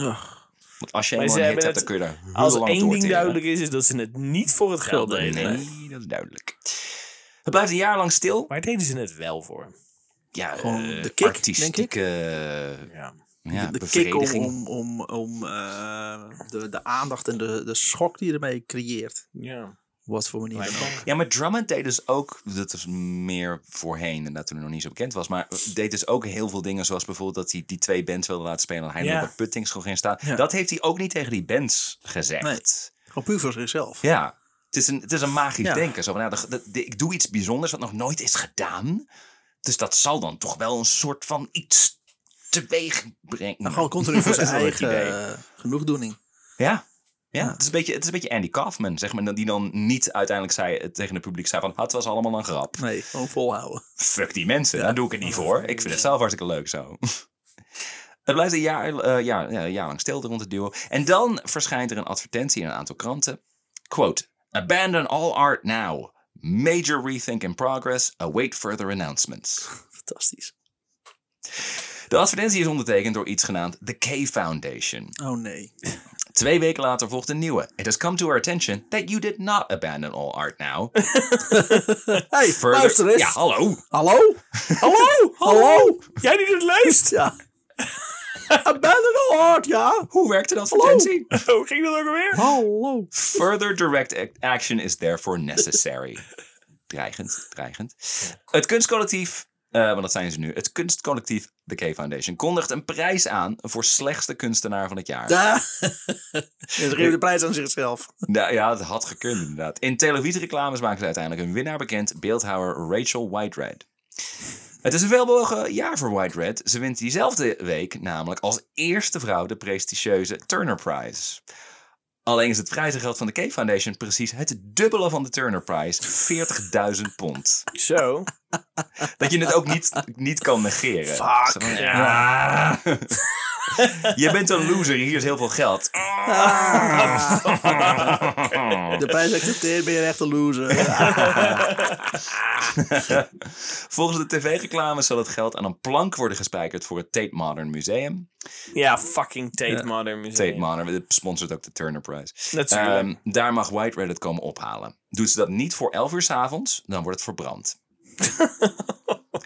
B: Want als je
C: Maar
B: eenmaal
C: ze
B: een hit
C: hebben
B: hebt, dan kun je daar heel
C: Als
B: lang op
C: één ding
B: doorteren.
C: duidelijk is, is dat ze het niet voor het geld
A: Geld
C: deden.
A: deden.
B: Nee, dat is duidelijk. Het blijft een jaar lang stil.
C: Waar deden ze het wel voor?
B: Ja,
A: Gewoon
B: eh,
A: de kick,
B: artistieke eh,
C: Ja.
B: ja,
A: de kick om,
B: bevrediging.
A: om, om, om eh, de, de aandacht en de, de schok die je ermee creëert.
C: Ja.
A: Wat voor manier. dan ook.
B: Ja, maar Drummond deed dus ook, dat was meer voorheen en dat toen hij nog niet zo bekend was, maar deed dus ook heel veel dingen zoals bijvoorbeeld dat hij die twee bands wilde laten spelen en hij
C: Ja.
B: nog op Puttings gewoon ging staan.
A: Ja.
B: Dat heeft hij ook niet tegen die bands gezegd.
A: Gewoon puur voor zichzelf.
B: Ja, het is een, het is een magisch
A: Ja.
B: denken. Zo van, nou, dat- dat- ik doe iets bijzonders wat nog nooit is gedaan, dus dat zal dan toch wel een soort van iets teweeg brengen.
A: Nou, gewoon continu
B: <laughs>
A: voor zijn
B: Dat is
A: eigen
B: wel het idee.
A: eh, genoegdoening.
B: Ja. Ja,
A: Ja.
B: Het, is een beetje, het is een beetje Andy Kaufman, zeg maar. Die dan niet uiteindelijk zei, tegen het publiek zei van... "Ah, Het was allemaal een grap.
A: Nee, gewoon
B: <laughs>
A: volhouden.
B: Fuck die mensen, daar doe ik het niet voor. Ik vind het zelf hartstikke leuk zo. <laughs> Het blijft een jaar, eh, jaar, ja, een jaar lang stilte rond het duo. En dan verschijnt er een advertentie in een aantal kranten. Quote, Abandon all art now. Major rethink in progress. Await further announcements.
A: Fantastisch.
B: De advertentie is ondertekend door iets genaamd The K Foundation.
A: Oh
B: <laughs>
A: nee.
B: Twee weken later volgt een nieuwe. It has come to our attention that you did not abandon all art now.
A: Hey,
B: Further-
A: luister eens.
B: Ja, hallo.
A: Hallo?
B: <laughs>
C: Hallo?
A: Hallo?
C: Jij die dit leest?
A: Ja. <laughs> Abandon all art, ja.
B: Hoe werkte dat advertentie?
C: <laughs> Hoe ging dat ook alweer?
A: Hallo.
B: Further direct act- action is therefore necessary. dreigend, dreigend. Het kunstcollectief, eh, want dat zijn ze nu. Het kunstcollectief The K Foundation kondigt een prijs aan voor slechtste kunstenaar van het jaar.
A: <laughs> Ja. Ze geven de prijs aan
B: <laughs>
A: zichzelf.
B: Nou ja, het had gekund inderdaad. In televisiereclames maken ze uiteindelijk hun winnaar bekend, beeldhouwer Rachel White-Red. Het is een veelbewogen jaar voor White-Red. Ze wint diezelfde week namelijk als eerste vrouw de prestigieuze Turner Prize. Alleen is het prijzengeld van de Cave Foundation precies het dubbele van de Turner Prize, 40.000 pond.
A: <laughs>
C: Zo. <laughs>
B: Dat je het ook niet, niet kan negeren. Zo
C: Fuck.
B: van,
C: Ja.
B: Je bent een loser, hier is heel veel
C: <laughs>
B: geld. Ah.
A: De prijs accepteert, ben je echt een loser.
B: <laughs> Volgens de tv-reclame zal het geld aan een plank worden gespijkerd voor het Tate Modern Museum.
C: Ja, fucking Tate Modern
B: Tate
C: Museum.
B: Modern, het sponsort ook de Turner Prize.
C: Natuurlijk.
B: Ehm, daar mag White Reddit komen ophalen. Doet ze dat niet voor 11 uur 's avonds, dan wordt het verbrand.
C: <laughs>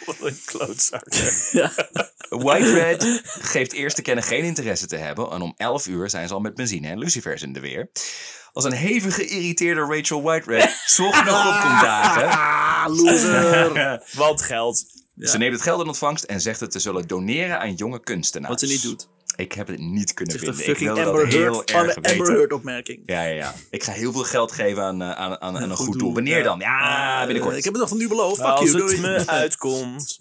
C: Wat een
B: <laughs>
C: klootzak.
A: <laughs>
B: White Red geeft eerst te kennen geen interesse te hebben. En om 11 uur zijn ze al met benzine en lucifers in de weer. Als een hevig geïrriteerde
A: <laughs>
B: Rachel White Red zorg nog op komt dagen. <laughs>
A: Ah, loser.
C: Want geld.
B: Ze neemt het geld in ontvangst en zegt het te zullen doneren aan jonge kunstenaars.
A: Wat ze niet doet.
B: Ik heb het niet kunnen
A: Zegt een
B: vinden. Ik
A: fucking
B: wil
A: Amber
B: dat heel
A: Heard, van de
B: erg
A: Amber
B: weten.
A: Heard opmerking.
B: Ja, ja, ja. Ik ga heel veel geld geven aan, eh, aan, aan, aan een goed
A: goed
B: doel.
A: doel,
B: Wanneer
A: ja.
B: dan? Ja,
A: Eh,
B: binnenkort. Nou,
A: Ik heb het nog nu beloofd. Fuck
C: Als
A: you,
C: het
A: doei. <laughs>
C: me uitkomt.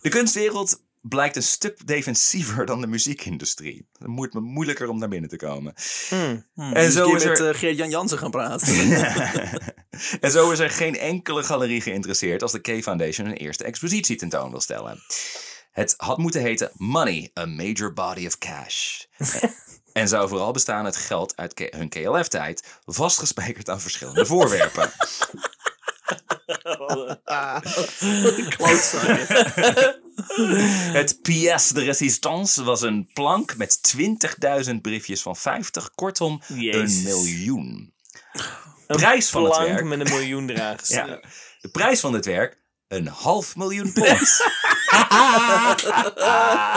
B: De kunstwereld blijkt een stuk defensiever dan de muziekindustrie. Het moet me moeilijker om naar binnen te komen.
C: <laughs>
A: Hmm,
B: En
A: dus
B: zo
A: een keer
B: is er-
A: met eh, Geert-Jan Jansen gaan
B: <laughs>
A: praten.
B: en zo is er geen enkele galerie geïnteresseerd als de K Foundation een eerste expositie tentoon wil stellen. Het had moeten heten Money, a Major Body of
C: <laughs>
B: Cash. en zou vooral bestaan uit geld uit K- hun KLF-tijd, vastgespijkerd aan verschillende
C: <laughs>
B: voorwerpen.
A: Klootzak.
B: Het pièce de résistance was een plank met 20.000 briefjes van 50, kortom
C: Jezus.
B: een miljoen. prijs van het
C: plank
B: werk.
C: met een
B: <laughs>
C: miljoen eraan geslagen.
B: Ja. De prijs van dit werk, een
C: <laughs>
B: half miljoen pond. Ah.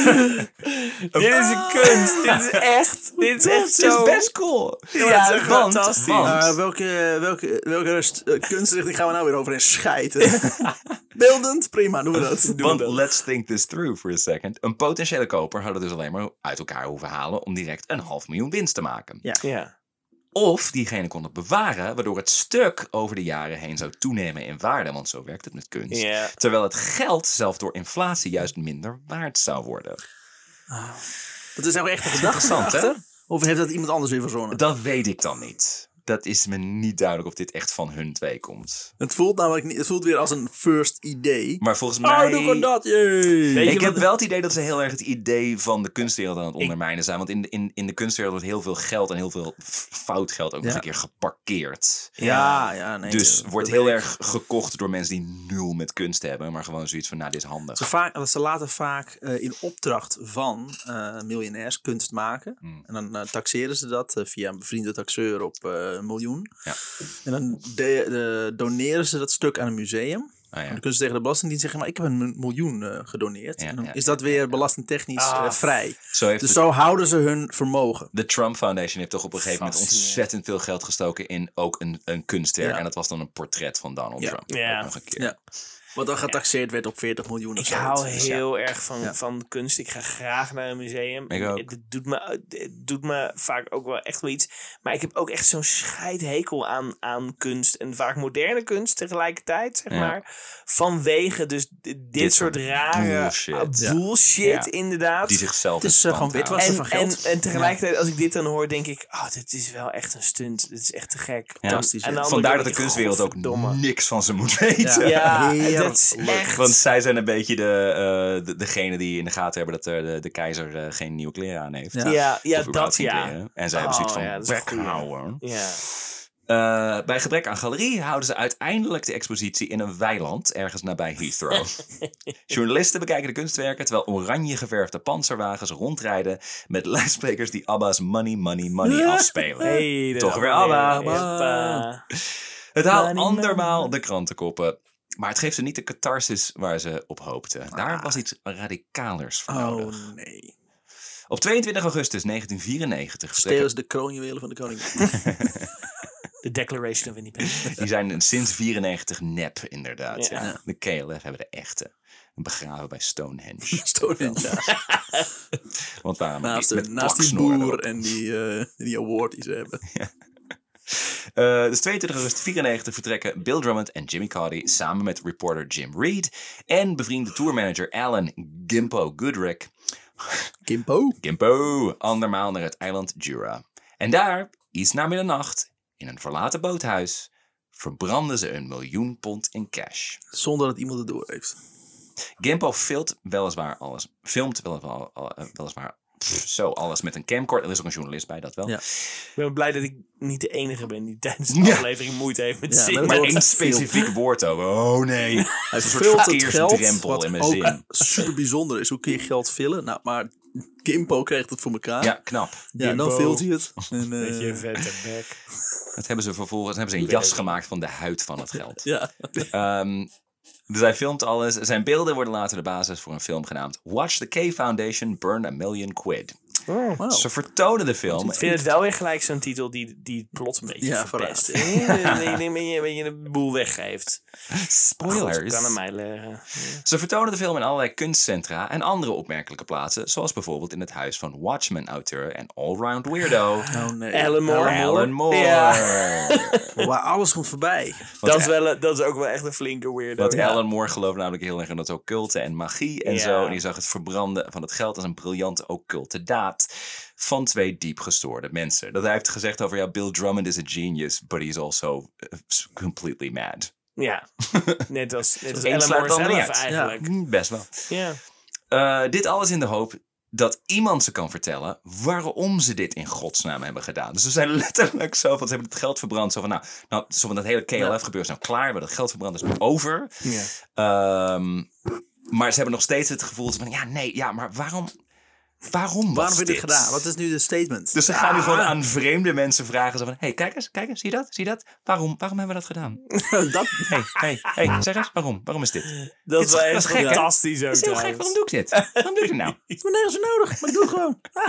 C: <laughs> Dit is een kunst. Dit is echt. <laughs> Dit is echt
B: Het is
C: zo.
B: best cool.
C: Ja, het is echt
B: want,
C: fantastisch.
B: want-
A: Maar welke, welke, welke rest- eh, kunstrichting gaan we nou weer over in
B: <laughs>
A: schijten? Beeldend? Prima, doen we dat. Doen we
B: want
A: dat.
B: let's think this through for a second. Een potentiële koper had het dus alleen maar uit elkaar hoeven halen om direct een half miljoen winst te maken.
C: Ja.
B: Of diegene kon het bewaren, waardoor het stuk over de jaren heen zou toenemen in waarde, want zo werkt het met kunst.
C: Ja.
B: Terwijl het geld zelf door inflatie juist minder waard zou worden.
A: Dat is nou
B: <laughs>
A: echt een gedachte.
B: Interessant, hè?
A: Of heeft dat iemand anders weer verzonnen?
B: Dat weet ik dan niet. Dat is me niet duidelijk of dit echt van hun twee komt.
A: Het voelt namelijk niet, het voelt weer als een first idee.
B: Maar volgens mij...
A: Oh, doe gewoon dat, jee!
C: Weet je
B: Ik
C: wat-
B: heb wel het idee dat ze heel erg het idee van de kunstwereld aan het ondermijnen zijn. Want in de, in, in de kunstwereld wordt heel veel geld en heel veel f- fout geld ook nog
A: Ja.
B: een keer geparkeerd.
A: Ja, ja, nee.
B: Dus
A: dat-
B: wordt
A: dat
B: heel
A: weet ik.
B: erg gekocht door mensen die nul met kunst hebben. Maar gewoon zoiets van, nou, dit is handig.
A: Ze, vaak, want ze laten vaak eh, in opdracht van eh, miljonairs kunst maken.
B: Hmm.
A: En dan eh, taxeren ze dat eh, via een bevriende taxeur op eh, een miljoen.
B: Ja.
A: En dan de- eh, doneren ze dat stuk aan een museum.
B: Ah,
A: En
B: ja.
A: dan kunnen ze tegen de belastingdienst zeggen, maar ik heb een mi- miljoen eh, gedoneerd.
B: Ja,
A: en dan
B: ja,
A: is dat weer belastingtechnisch
C: Ah,
A: eh, vrij.
B: Zo heeft
A: Dus
B: de-
A: zo houden ze hun vermogen.
B: de Trump Foundation heeft toch op een gegeven moment
C: Fascinerend.
B: ontzettend veel geld gestoken in ook een, een kunstwerk.
A: Ja.
B: En dat was dan een portret van Donald
A: Ja.
B: Trump.
C: Ja.
B: Ook nog een keer.
A: Ja. Wat dan getaxeerd werd op 40 miljoen of
C: Ik
A: zo.
C: hou
A: Dus
C: heel erg van,
A: Ja.
C: van kunst. Ik ga graag naar een museum.
B: Ik ook.
C: Het doet me, het doet me vaak ook wel echt wel iets. Maar ik heb ook echt zo'n scheidhekel aan, aan kunst. En vaak moderne kunst tegelijkertijd, zeg
B: Ja.
C: maar. Vanwege dus d- dit,
B: Dit
C: soort
B: soort
C: rare
B: bullshit.
C: ah,
A: Ja.
C: bullshit,
B: Ja.
C: inderdaad.
B: Die zichzelf
A: Het is,
B: in
A: eh,
B: stand
A: gewoon
B: houden.
A: witwassen.
C: en,
A: van
C: en, <laughs>
A: geld.
C: en tegelijkertijd, als ik dit dan hoor, denk ik: Oh, dit is wel echt een stunt. Dit is echt te gek.
B: Ja.
A: Fantastisch,
C: En
A: ja.
C: dan
B: Vandaar dat
C: denk
B: de
C: ik, "Oh,
B: kunstwereld ook
C: godverdomme.
B: niks van ze moet weten.
C: Ja, <laughs>
A: Heerlijk.
C: dat is echt.
B: Want zij zijn een beetje de, eh, de, degene die in de gaten hebben dat eh, de, de keizer eh, geen nieuwe kleren aan heeft.
A: Ja.
C: ja, ja,
B: Of überhaupt
C: dat
B: geen
C: ja.
B: kleren. En zij hebben zoiets
C: Oh,
B: van
C: ja, dat is
B: "Bek
C: een goeie.
B: houden."
C: Ja.
B: Eh, bij gebrek aan galerie houden ze uiteindelijk de expositie in een weiland ergens nabij
C: <laughs>
B: Heathrow. Journalisten bekijken de kunstwerken terwijl oranje geverfde panzerwagens rondrijden met luidsprekers die ABBA's Money, Money,
C: <laughs>
B: Money
C: Eh,
B: afspelen.
C: Hey,
B: Toch weer ABBA. Het haalt andermaal de krantenkoppen. Maar het geeft ze niet de catharsis waar ze op hoopten. Daar
C: Ah.
B: was iets radicalers voor nodig.
A: Oh nee.
B: Op 22 augustus 1994 vertrekken-
A: Steelers de kroonjuwelen van de koning. <laughs>
C: De Declaration of
B: <laughs>
C: Independence.
B: Die zijn sinds 94 nep, inderdaad. Ja.
C: Ja.
B: De KLF hebben de echte. Begraven bij Stonehenge.
A: Stonehenge. ja.
B: Want daar
A: Naast,
B: met,
A: de,
B: met
A: naast die
B: plaksnoren
A: boer
B: erop.
A: en die, eh, die award die ze hebben.
B: Eh, dus 22 augustus 94 vertrekken Bill Drummond en Jimmy Cody samen met reporter Jim Reed en bevriende tourmanager Alan Gimpo Goodrick.
A: Kimpo.
B: Gimpo, andermaal naar het eiland Jura. En daar, iets na middernacht, in een verlaten boothuis, verbranden ze een miljoen pond in cash.
A: Zonder dat iemand het door heeft.
B: Gimpo filmt weliswaar alles. Filmt weliswaar, al- eh, weliswaar pff, zo alles met een camcorder. Er is ook een journalist bij, dat wel.
A: Ja.
C: Ik ben blij dat ik niet de enige ben die tijdens de
B: Ja.
C: aflevering moeite heeft met
A: Ja,
C: zingen.
A: dat
B: Maar
A: hoort
B: één
A: echt
B: specifiek woord over. Oh nee. Het is een soort
A: Vult het geld,
B: verkeersdrempel
A: wat
B: in mijn
A: ook
B: zin.
A: super bijzonder is. Hoe kun je geld vullen? Nou, maar Kimpo krijgt het voor elkaar.
B: Ja, knap.
A: Ja, en dan
C: Kimpo.
A: vult hij het. En, eh,
C: Met je vette bek.
B: <laughs> Dat hebben ze vervolgens hebben ze een jas gemaakt van de huid van het geld.
A: ja.
B: Ehm, dus hij filmt alles. Zijn beelden worden later de basis voor een film genaamd Watch the K Foundation Burn a Million Quid.
A: Wow.
B: Ze vertonen de film.
C: Ik vind het wel weer gelijk zo'n titel die, die het plot een beetje
A: Ja,
C: verpest. <laughs>
A: vooruit.
B: <laughs>
C: Een beetje- een beetje een boel weggeeft.
B: Oh,
C: Goed,
B: Spoilers.
C: kan aan mij liggen.
B: Ze vertonen de film in allerlei kunstcentra en andere opmerkelijke plaatsen, zoals bijvoorbeeld in het huis van Watchmen-auteur en allround weirdo
A: Oh nee.
C: Alan Moore.
B: Alan Moore.
C: Ja.
A: Waar alles komt voorbij.
B: Want
C: Dat is, wel, een- dat is ook wel echt een flinke weirdo.
B: <laughs> Want
C: ja.
B: Alan Moore gelooft namelijk heel erg in dat occulte en magie en
C: Ja.
B: zo. En die zag het verbranden van het geld als een briljante occulte daad van twee diep gestoorde mensen. Dat hij heeft gezegd over, ja, Bill Drummond is a genius, but he's also eh, completely mad.
A: <laughs>
C: Ja, net als, net als
B: Eén
C: Alan
B: slaat
C: Moore
B: het andere
C: zelf
B: niet uit.
C: eigenlijk.
B: Hm, Best wel.
C: Ja.
B: Eh, dit alles in de hoop dat iemand ze kan vertellen waarom ze dit in godsnaam hebben gedaan. Dus ze zijn <laughs> letterlijk zo van, ze hebben het geld verbrand. Zo van, nou, nou zo van dat hele KLF-gebeuren is nou klaar. We hebben dat geld verbrand, is over.
C: Ja.
B: Ehm, maar ze hebben nog steeds het gevoel van, ja, nee, ja, maar waarom, waarom was
A: Waarom heb je dit
B: dit
A: gedaan? Wat Ah. is nu de statement? <laughs>
B: Dus ze gaan nu gewoon aan vreemde mensen vragen. Zo van, hey, kijk eens, kijk eens, zie je dat? Zie je dat? Waarom, waarom hebben we dat gedaan?
A: Nou, dat,
B: hey, hey, hey, zeg eens, waarom? Waarom is dit? Dat
C: <laughs> Dat is wel
B: dat
C: echt
B: is gek, hè?
C: fantastisch ook
B: is heel gek,
C: trouwens.
B: waarom doe ik dit? Waarom doe ik dit
A: <laughs>
B: nou?
A: is me nergens voor nodig, maar ik doe het gewoon. Ah,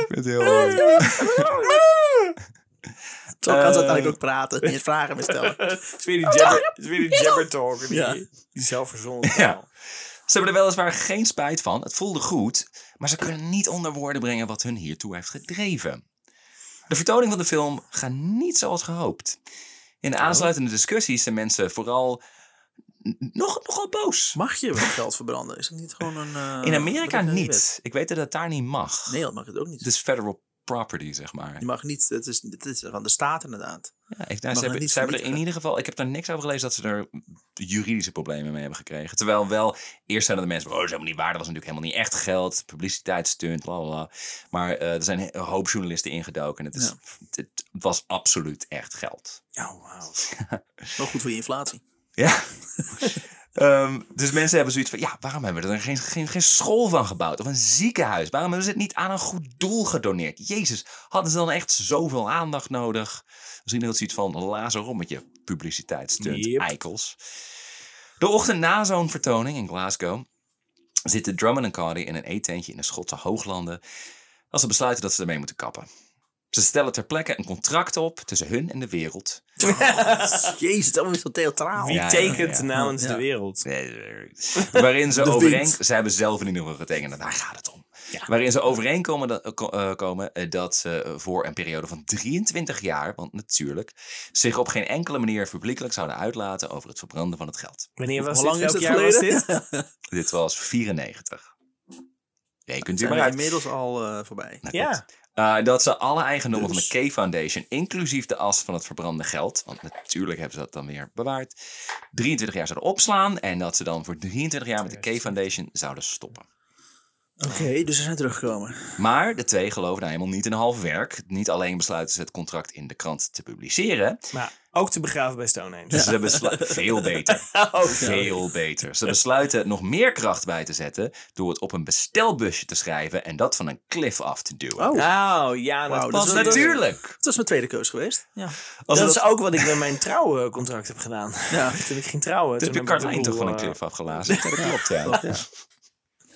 B: Ik vind het
A: <laughs>
B: heel...
A: Zo kan ze uiteindelijk ook praten. Niet vragen meer stellen.
C: <laughs> Het is weer die jabber, het is weer die jabber talk. Die,
A: Ja.
C: die zelfverzonnen
B: Ja.
C: taal.
B: Ze hebben er weliswaar geen spijt van, het voelde goed, maar ze kunnen niet onder woorden brengen wat hun hiertoe heeft gedreven. De vertoning van de film gaat niet zoals gehoopt. In de aansluitende discussies zijn mensen vooral n- nog, nogal boos.
A: Mag je wel geld verbranden? Is het niet gewoon een... eh,
B: In Amerika
A: wat is er
B: niet. Ik weet dat het daar niet mag.
A: wet? Nee, dat mag het ook niet.
B: Het is federal property, zeg maar.
A: Je mag niet... Het is, het is van de staat inderdaad.
B: Ja,
A: het
B: ik- nou, ze hebben,
A: niet
B: ze hebben er in
A: vernietigen.
B: ieder geval, ik heb daar niks over gelezen dat ze er juridische problemen mee hebben gekregen. Terwijl wel, eerst zijn er de mensen, oh, dat is helemaal niet waar, dat was natuurlijk helemaal niet echt geld, publiciteitsstunt, la la la. Maar eh, er zijn een hoop journalisten ingedoken en het, is,
A: Ja.
B: het was absoluut echt geld.
A: Ja,
C: Oh,
A: wauw. Wel goed voor je inflatie.
B: Ja. Ehm, dus mensen hebben zoiets van, ja, waarom hebben we er geen, geen, geen school van gebouwd of een ziekenhuis? Waarom hebben ze het niet aan een goed doel gedoneerd? Jezus, hadden ze dan echt zoveel aandacht nodig? Misschien had ze iets van lazer om met je publiciteitsstunt,
C: Yep.
B: eikels. De ochtend na zo'n vertoning in Glasgow zitten Drummond en Cardi in een eetentje in de Schotse hooglanden als ze besluiten dat ze ermee moeten kappen. Ze stellen ter plekke een contract op tussen hun en de wereld
A: Jezus, dat is zo theatraal.
C: Wie
B: Ja,
C: tekent
B: ja, ja.
C: namens
A: Ja.
C: de wereld?
B: waarin ze
A: De
B: overeenkomen.
A: wind.
B: Ze hebben zelf in ieder geval getekend, en daar gaat het om.
C: Ja.
B: Waarin ze overeenkomen dat, ko- eh, komen eh, dat ze voor een periode van 23 jaar, want natuurlijk, zich op geen enkele manier publiekelijk zouden uitlaten over het verbranden van het geld.
C: Wanneer was
A: Hoe
C: dit?
A: lang is
C: Welk
A: het
C: jaar was
A: geleden? <laughs>
C: dit?
B: Dit was 94. Rekent u
A: Zijn
B: maar
A: we
B: uit.
A: inmiddels al eh, voorbij.
B: Nou,
C: Ja.
B: goed. Eh, dat ze alle eigendommen
A: Dus.
B: van de K Foundation, inclusief de as van het verbrande geld, want natuurlijk hebben ze dat dan weer bewaard, 23 jaar zouden opslaan en dat ze dan voor 23 jaar met de K Foundation zouden stoppen.
A: Oké, dus ze zijn teruggekomen.
B: Maar de twee geloven nou helemaal niet in half werk. Niet alleen besluiten ze het contract in de krant te publiceren,
C: Maar ook te begraven bij Stonehenge. Oh,
B: ze besluiten veel beter.
C: <laughs>
B: Veel beter. Ze besluiten nog meer kracht bij te zetten door het op een bestelbusje te schrijven en dat van een cliff af te duwen.
A: Oh,
C: Nou ja, dat
A: Wauw, dat
C: past
B: Want
A: is wel-
C: natuurlijk.
B: natuurlijk.
A: dat is mijn tweede keus geweest. Ja.
C: dat
B: Als
C: is
B: we
C: ook wat ik met mijn trouwcontract heb gedaan.
A: Ja.
C: <laughs> Toen ik ging trouwen.
B: Toen
C: toen
B: heb je
C: heb ik
B: Carlijn
C: de
B: toch
C: boel,
B: van een
C: eh,
B: cliff afgelazen? Ja, dat klopt, ja.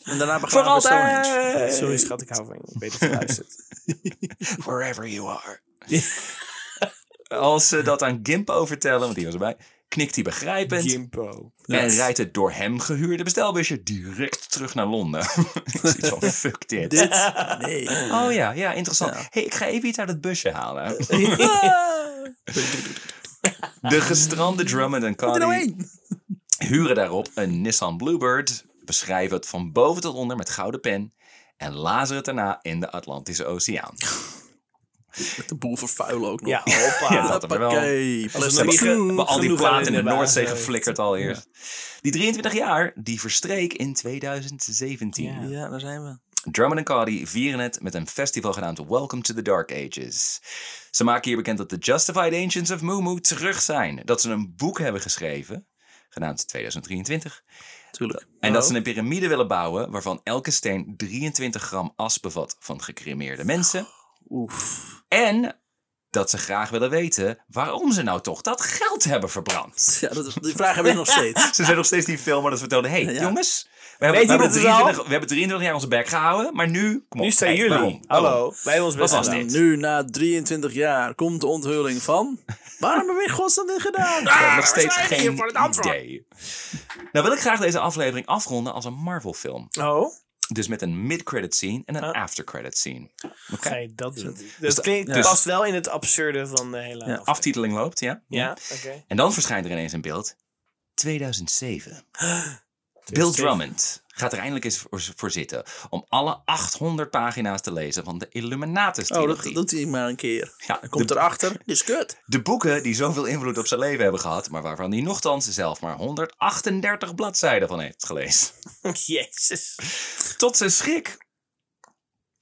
A: En daarna
B: Voor
A: begraven we Stonehenge.
B: altijd.
C: Sorry eh, schat, ik hou van je. Beter geluisterd.
B: Wherever you are. Als ze dat aan Gimpo vertellen, want die was erbij, knikt hij begrijpend.
C: Gimpo.
B: En rijdt het door hem gehuurde bestelbusje direct terug naar Londen. <laughs> Ik zie zo, fuck dit.
A: Dit? Nee.
B: Oh ja, ja, interessant.
A: Ja.
B: hey, ik ga even iets uit het busje halen. De gestrande Drummond en
A: Wat er nou
B: Cardi
A: heen?
B: huren daarop een Nissan Bluebird, beschrijven het van boven tot onder met gouden pen en lazeren het daarna in de Atlantische Oceaan.
A: Met de boel vervuilen ook nog. Ah,
C: Ja,
A: <laughs>
C: hoppa.
B: Ja, dat maar wel.
A: Hoppakee,
C: Als
A: plastic.
C: we nog niet
B: Ze
C: ge-
B: hebben al die
C: genoeg
B: platen
C: hadden
B: in de
C: inderdaad.
B: Noordzee
C: Ja.
B: geflikkerd al eerst. Die 23 jaar, die verstreek in 2017.
C: Ja.
A: Ja, daar zijn we.
B: Drummond en Cardi vieren het met een festival genaamd Welcome to the Dark Ages. Ze maken hier bekend dat de Justified Ancients of Moo terug zijn. Dat ze een boek hebben geschreven, genaamd 2023.
A: Tuurlijk. Nou,
B: En dat
C: Oh.
B: ze een piramide willen bouwen waarvan elke steen 23 gram as bevat van gecremeerde mensen.
A: Oef.
B: En dat ze graag willen weten waarom ze nou toch dat geld hebben verbrand.
A: Ja, dat, die vraag hebben we nog steeds.
B: Ze zijn nog steeds die film, maar dat vertelde: hey,
A: Ja.
B: jongens, wij
C: Weet
B: hebben, we, hebben
C: iemand het al?
B: 23, we hebben 23 jaar onze bek gehouden, maar nu... Kom op,
C: Nu staan
B: hey,
C: jullie.
B: waarom? Oh.
C: Hallo.
B: Waarom?
C: Wij hebben ons best
B: was
C: gedaan.
B: dit?
A: Nou, Nu, na 23 jaar, komt de onthulling van... Waarom hebben we in godsnaam dit gedaan?
B: Ik heb
A: Ah,
B: nog steeds
A: we zijn hier voor het
B: geen
A: antwoord.
B: idee. Nou wil ik graag deze aflevering afronden als een Marvel film.
C: Oh,
B: Dus met een mid-credit scene en een
C: Ah.
B: after-credit scene.
C: ga je dat doen?
B: Dus
C: Dat klinkt,
A: ja.
C: past wel in het absurde van de hele
A: Ja,
C: aflevering.
B: Aftiteling loopt, ja.
C: Ja, oké. <laughs>
B: En dan verschijnt er ineens een beeld. 2007. Bill Drummond gaat er eindelijk eens voor, voor zitten om alle 800 pagina's te lezen van de Illuminatus
A: Oh, dat
B: trilogie.
A: doet hij maar een keer.
B: Ja,
A: Hij komt
B: de-
A: erachter. Dit is kut.
B: De boeken die zoveel invloed op zijn leven hebben gehad, maar waarvan hij nochtans zelf maar 138 bladzijden van heeft gelezen.
C: Jezus.
B: Tot zijn schrik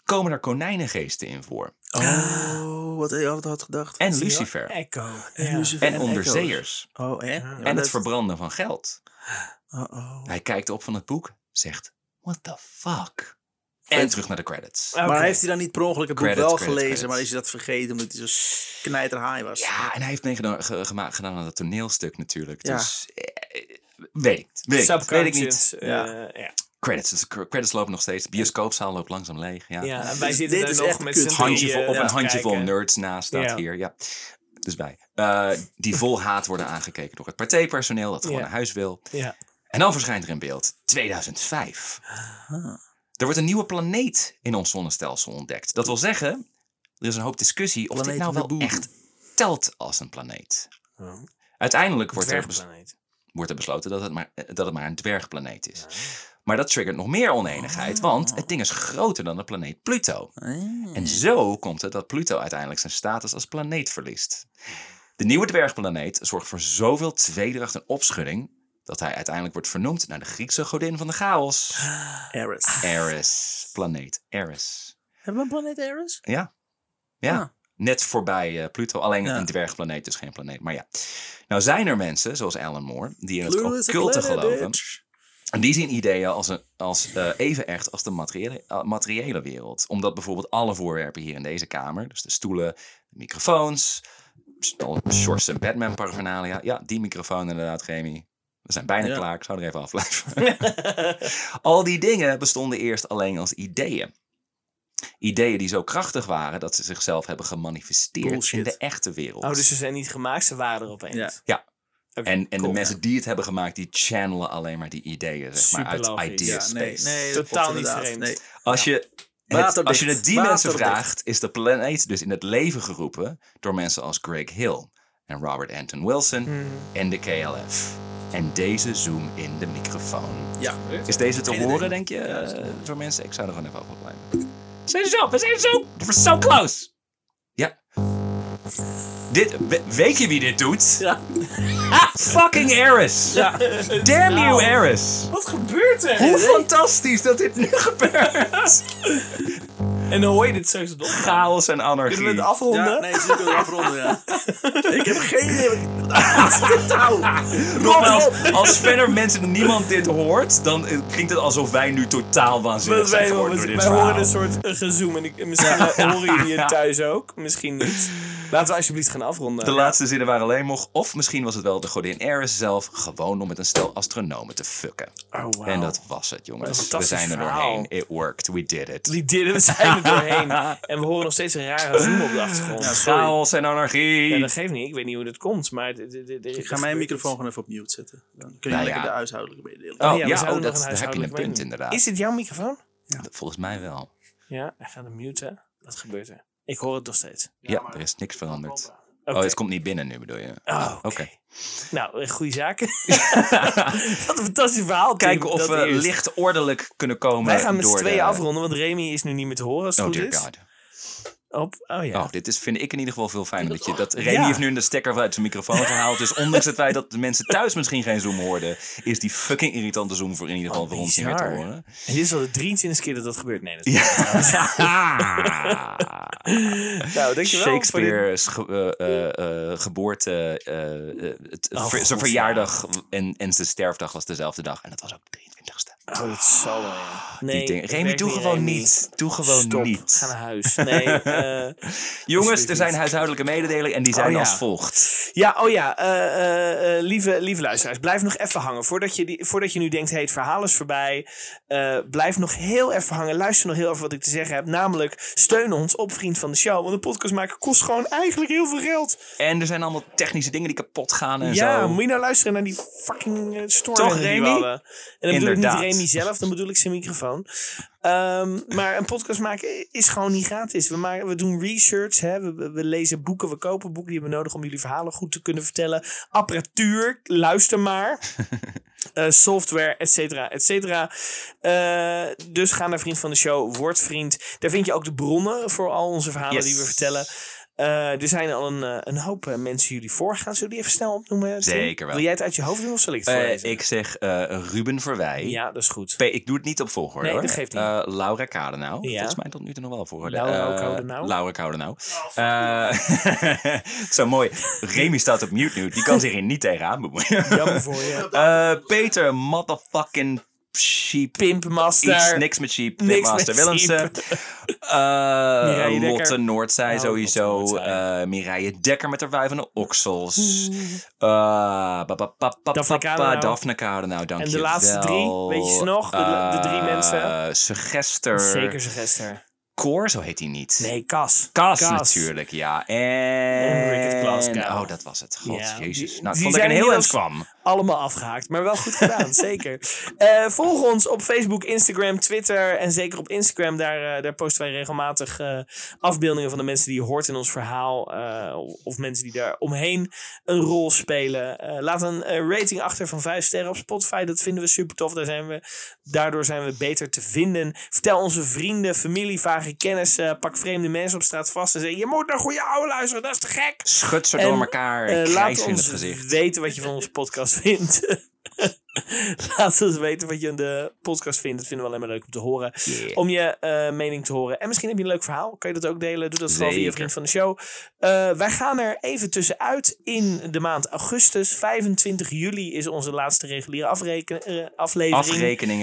B: komen er konijnengeesten in voor.
A: Oh, wat hij altijd had gedacht.
B: En Lucifer.
C: Echo.
A: En
C: Ja.
A: Lucifer
B: En
A: Echo's.
B: onderzeeërs.
A: Oh, hè? Ja,
B: En het
A: dat-
B: verbranden van geld.
A: Oh, oh.
B: Hij kijkt op van het boek, zegt: What the fuck? En terug naar de credits.
C: Oké.
A: Maar heeft hij dan niet per ongeluk het boek
B: Credits,
A: wel
B: credits,
A: gelezen,
B: credits.
A: maar is hij dat vergeten omdat hij zo knijterhaai was?
B: Ja, en hij heeft meegedaan ge- gema- gedaan aan dat toneelstuk natuurlijk.
A: Ja.
B: Dus eh, eh, weet ik, niet, weet ik, niet, weet ik niet.
C: Subconscious, eh, ja. ja.
B: Credits, dus de cr- credits lopen nog steeds. De bioscoopzaal loopt langzaam leeg. Ja.
C: en wij
A: Dit-
C: zitten
A: dit
C: daar
A: is
C: nog
A: echt
C: met
A: kut.
C: z'n
B: handje
C: drieën
B: vol, op
C: te
B: een handjevol
C: kijken.
B: nerds naast staat
C: Ja.
B: hier. Ja. Dus bij. Eh, die vol haat worden aangekeken door het partijpersoneel dat gewoon
C: Ja.
B: naar huis wil.
C: Ja.
B: En dan verschijnt er in beeld 2005.
A: Ah.
B: Er wordt een nieuwe planeet in ons zonnestelsel ontdekt. Dat wil zeggen, er is een hoop discussie of dit
A: Planeet
B: nou
A: van de
B: wel
A: boer.
B: echt telt als een planeet.
C: Oh.
B: Uiteindelijk wordt er, bes-
C: Dwergplaneet.
B: wordt er besloten dat het, maar, eh, dat het maar een dwergplaneet is. Maar dat triggert nog meer oneenigheid, want het ding is groter dan de planeet Pluto.
A: Ah.
B: En zo komt het dat Pluto uiteindelijk zijn status als planeet verliest. De nieuwe dwergplaneet zorgt voor zoveel tweedracht en opschudding dat hij uiteindelijk wordt vernoemd naar de Griekse godin van de chaos.
A: Eris.
B: Eris, planeet Eris.
A: Hebben we een planeet Eris?
B: Ja. Ja.
A: Ah.
B: Net voorbij eh, Pluto. Alleen
A: Ja.
B: een dwergplaneet is geen planeet. Maar ja. Nou zijn er mensen, zoals Alan Moore, die in
A: Pluto is
B: het
A: a
B: occulte
A: planet,
B: geloven.
A: bitch.
B: En die zien ideeën als, een, als eh, even echt als de materiële, eh, materiële wereld. Omdat bijvoorbeeld alle voorwerpen hier in deze kamer, dus de stoelen, de microfoons, s- al shorts en Batman paraphernalia. Ja, die microfoon inderdaad, Remy. We zijn bijna
A: Ja.
B: klaar, ik zou er even
A: <laughs>
B: afblijven. al die dingen bestonden eerst alleen als ideeën. Ideeën die zo krachtig waren dat ze zichzelf hebben gemanifesteerd in
A: Bullshit.
B: de echte wereld.
C: Oh, dus ze zijn niet gemaakt, ze waren er opeens.
A: Ja.
C: Oké,
B: En, en
C: cool.
B: de mensen die het hebben gemaakt, die channelen alleen maar die ideeën, zeg maar, uit
C: Superlogisch.
B: idea
A: Ja,
B: space.
A: nee, nee, dat
C: Totaal
A: klopt
C: niet
A: inderdaad.
C: vreemd.
A: Nee.
B: Als je, het,
A: Waterdicht.
B: als je het die mensen
A: Waterdicht.
B: vraagt, is de planeet dus in het leven geroepen door mensen als Greg Hill en Robert Anton Wilson en de KLF. En deze zoom in de microfoon.
A: Ja.
B: Is deze te
A: Geen idee.
B: horen, denk je, eh, door mensen? Ik zou er gewoon even over blijven. Zijn zo, we zijn zo, we're so close. Ja. Dit, we- weet je wie dit doet? <laughs> Ah,
A: Ja.
B: Fucking Eris.
C: <laughs>
A: Ja.
B: Damn you, Eris.
C: Nou. Wat gebeurt er?
B: Hoe fantastisch dat dit nu <laughs> gebeurt.
C: En dan hoor je dit zo op.
B: Chaos en anarchie.
C: Kunnen we het afronden?
A: Ja, nee, ze kunnen we afronden, ja.
B: <laughs>
A: Ik heb geen idee.
C: Nou, <laughs>
B: Nogmaals, als verder mensen niemand dit hoort, dan eh, klinkt het alsof wij nu totaal waanzinnig
C: Want
B: zijn
C: wij,
B: geworden
C: wij-
B: door dit
C: wij horen
B: verhaal.
C: een soort eh, gezoem. En ik, misschien eh, horen jullie het thuis ook. Misschien niet. Laten we alsjeblieft gaan afronden.
B: De laatste zinnen waren alleen nog, of misschien was het wel de godin Eris zelf, gewoon om met een stel astronomen te fucken.
C: oh, wow.
B: En dat was het, jongens. We
C: fantastisch
B: zijn er
C: verhaal.
B: doorheen. It worked. We did it.
C: Die deden we zijn er <laughs> doorheen. En we horen nog steeds een rare zoom op de achtergrond. Ja,
B: Chaos en anarchie.
C: dat geeft niet. Ik weet niet hoe dat komt. Maar d- d- d- d-
A: Ik ga mijn microfoon gewoon even op mute zetten. Dan kun je
B: Nou ja.
A: lekker de huishoudelijke meedelen.
B: Oh,
C: we
B: ja,
C: zouden
B: oh,
C: nog
B: dat-
C: een
B: daar heb je een
C: huishoudelijk
B: punt,
C: menu.
B: inderdaad.
C: Is dit jouw microfoon?
B: Volgens mij wel.
C: Ja, hij gaat hem muten. Wat gebeurt er? Ik hoor het nog steeds.
B: Ja, er is niks veranderd.
C: Oké.
B: Oh, het komt niet binnen nu, bedoel je?
C: Oh,
B: Oké.
C: <laughs>
B: <laughs>
C: Nou, eh, goede <laughs> zaken. Wat een fantastisch verhaal. Tim,
B: Kijken of
C: dat
B: we
C: eerst.
B: licht ordelijk kunnen komen
C: Wij gaan met z'n
B: door
C: tweeën
B: de...
C: afronden, want Remy is nu niet meer te horen als het
B: Oh
C: goed
B: dear
C: is.
B: god.
C: Op, oh ja.
B: Oh, dit is, vind ik in ieder geval veel fijner. Dat, je, dat Remy
C: Ja.
B: heeft nu de stekker uit zijn microfoon gehaald. Dus ondanks het feit dat de mensen thuis misschien geen Zoom hoorden... is die fucking irritante Zoom voor in ieder geval voor ons niet meer te
C: Oh, bizar.
B: horen.
C: En dit is al de 23 keer dat dat gebeurt. Nee, dat
B: <laughs> Ja.
C: Nou, dankjewel voor dit-
B: Shakespeare's ge- eh, eh, eh, geboorte, eh, eh, het-
C: Oh,
B: ver-
C: God,
B: zijn verjaardag en, en zijn sterfdag was dezelfde dag. En dat was ook de 23ste.
C: Oh, dat zal wel, ja. Nee,
B: die dingen.
C: dat
B: Remy,
C: werkt
B: doe gewoon
C: Remy.
B: niet. Doe gewoon
C: Stop,
B: niet.
C: ga naar huis. Nee,
B: <laughs>
C: eh,
B: Jongens,
C: Alsjeblieft
B: er zijn
C: niet.
B: huishoudelijke mededelingen en die zijn
C: Oh, ja.
B: als volgt.
C: Ja, oh ja, eh, eh, eh, lieve, lieve luisteraars, blijf nog even hangen. Voordat je, die, voordat je nu denkt, hé, het verhaal is voorbij. eh, blijf nog heel even hangen. Luister nog heel even wat ik te zeggen heb. Namelijk, steun ons op Vriend van de Show. Want een podcast maken kost gewoon eigenlijk heel veel geld.
B: En er zijn allemaal technische dingen die kapot gaan en
C: ja,
B: zo.
C: moet je nou luisteren naar die fucking eh, storm
B: Toch,
C: die
B: Remy?
C: we hadden. En dan
B: Inderdaad.
C: bedoel ik niet Remy zelf, dan bedoel ik zijn microfoon. Ehm, maar een podcast maken is gewoon niet gratis. We, maken, we doen research, hè? We, we- we lezen boeken, we kopen boeken die hebben we nodig om jullie verhalen goed te kunnen vertellen. Apparatuur, luister
B: <laughs>
C: maar. Eh, software, et cetera, et cetera. Eh, dus ga naar Vriend van de Show, word vriend. Daar vind je ook de bronnen voor al onze verhalen
B: Yes.
C: die we vertellen. Eh, er zijn al een, eh, een hoop eh, mensen jullie voorgaan. Zullen we die even snel opnoemen? Tim?
B: Zeker wel.
C: Wil jij het uit je hoofd doen of zal ik het
B: Eh,
C: voorlezen?
B: ik zeg eh, Ruben Verwij.
C: Ja, dat is goed.
B: P- Ik doe het niet op volgorde.
C: Nee,
B: hoor.
C: dat geeft niet.
B: Eh, Laura Kadenau.
C: Ja.
B: Volgens mij tot nu toe nog wel volgorde.
C: Laura
B: Eh,
C: Kaudenau?
B: Laura Kaudenau. Eh, <laughs> zo mooi. Remy staat op mute nu. Die kan zich hier niet tegenaan bemoeien.
C: Jammer voor je.
B: <laughs> Eh, Peter motherfucking sheep. Iets,
C: Pimpmaster.
B: niks met sheep.
C: Niks
B: Niks Master
C: met
B: Willemsen.
C: <laughs> Mireille
B: Eh
C: Dekker.
B: Lotte Noordzij
C: Oh,
B: sowieso.
C: Lotte Noordzij.
B: Eh, Mireille Dekker met haar wui van de oksels. Eh, ba- ba- ba- ba-
C: Daphne
B: ba-
C: Kadenau.
B: Daphne Kadenau, dank
C: En
B: je
C: de laatste
B: wel.
C: drie, weet je ze nog? De- de drie
B: Eh,
C: mensen.
B: Suggester.
C: Zeker suggester.
B: Cor, zo heet hij niet.
C: Nee, Cas.
B: Kas, natuurlijk, ja. En...
C: Ricket Glasgow.
B: Oh, dat was het. God,
C: Ja,
B: jezus.
C: die-
B: Nou,
C: die
B: ik vond dat ik
C: zijn
B: een heel eind
C: inmiddels-
B: kwam.
C: Allemaal afgehaakt, maar wel goed gedaan, zeker. Eh, volg ons op Facebook, Instagram, Twitter en zeker op Instagram. Daar, eh, daar posten wij regelmatig eh, afbeeldingen van de mensen die je hoort in ons verhaal. eh, of mensen die daar omheen een rol spelen. Eh, laat een eh, rating achter van 5 sterren op Spotify. Dat vinden we super tof. Daar zijn we, daardoor zijn we beter te vinden. Vertel onze vrienden, familie, vage kennissen. Pak vreemde mensen op straat vast en zeg: Je moet naar goede ouwe luisteren, dat is te gek.
B: Schud ze
C: En,
B: door elkaar.
C: Eh,
B: Ik
C: laat
B: krijs in het
C: ons
B: gezicht.
C: weten wat je van onze podcast <laughs> vindt. laat ons weten wat je van de podcast vindt. Dat vinden we alleen maar leuk om te horen.
B: Yeah.
C: Om je eh, mening te horen. En misschien heb je een leuk verhaal. Kan je dat ook delen? Doe dat vooral via
B: Zeker.
C: vriend van de show. Eh, wij gaan er even tussenuit in de maand augustus. 25 juli is onze laatste reguliere afreken- eh, aflevering.
B: Afrekening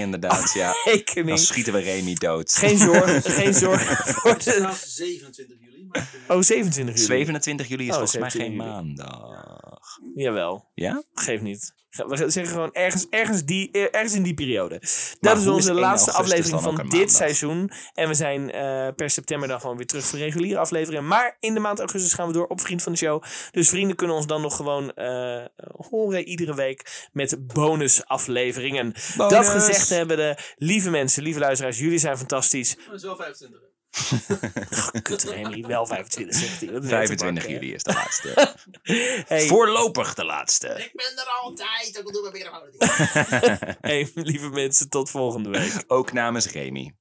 C: <laughs>
B: inderdaad, ja. Dan
C: Afrekening.
B: schieten we Remy dood.
C: Geen
B: <laughs>
C: zorgen. geen zorgen voor
A: Het is
C: de...
A: trouwens 27 juli. Maar
C: Oh, 27 juli.
B: 27 juli is
C: Oh,
B: volgens mij geen
C: 27 juli.
B: maandag.
C: Jawel.
B: Ja?
C: Geef niet. We zeggen gewoon ergens, ergens, die, eh, ergens in die periode.
B: Maar
C: Dat is
B: hoe
C: onze
B: is 1
C: laatste
B: augustus
C: aflevering
B: dan
C: van
B: ook
C: dit
B: een maandag?
C: seizoen. En we zijn eh, per september dan gewoon weer terug voor reguliere afleveringen. Maar in de maand augustus gaan we door op Vriend van de Show. Dus vrienden kunnen ons dan nog gewoon eh, horen iedere week met bonusafleveringen. Dat
B: Bonus.
C: gezegd hebben de lieve mensen, lieve luisteraars, jullie zijn fantastisch.
A: het is wel 25.
C: Kut Remy, wel 25 zegt hij. Wat een
B: 25
C: hele
B: juli is de laatste.
C: bak, hè. <laughs> Hey,
B: Voorlopig de laste.
C: <laughs>
A: Ik ben er altijd. Ik doe mijn microfoon.
C: hey, lieve mensen, tot volgende week.
B: Ook namens Remy.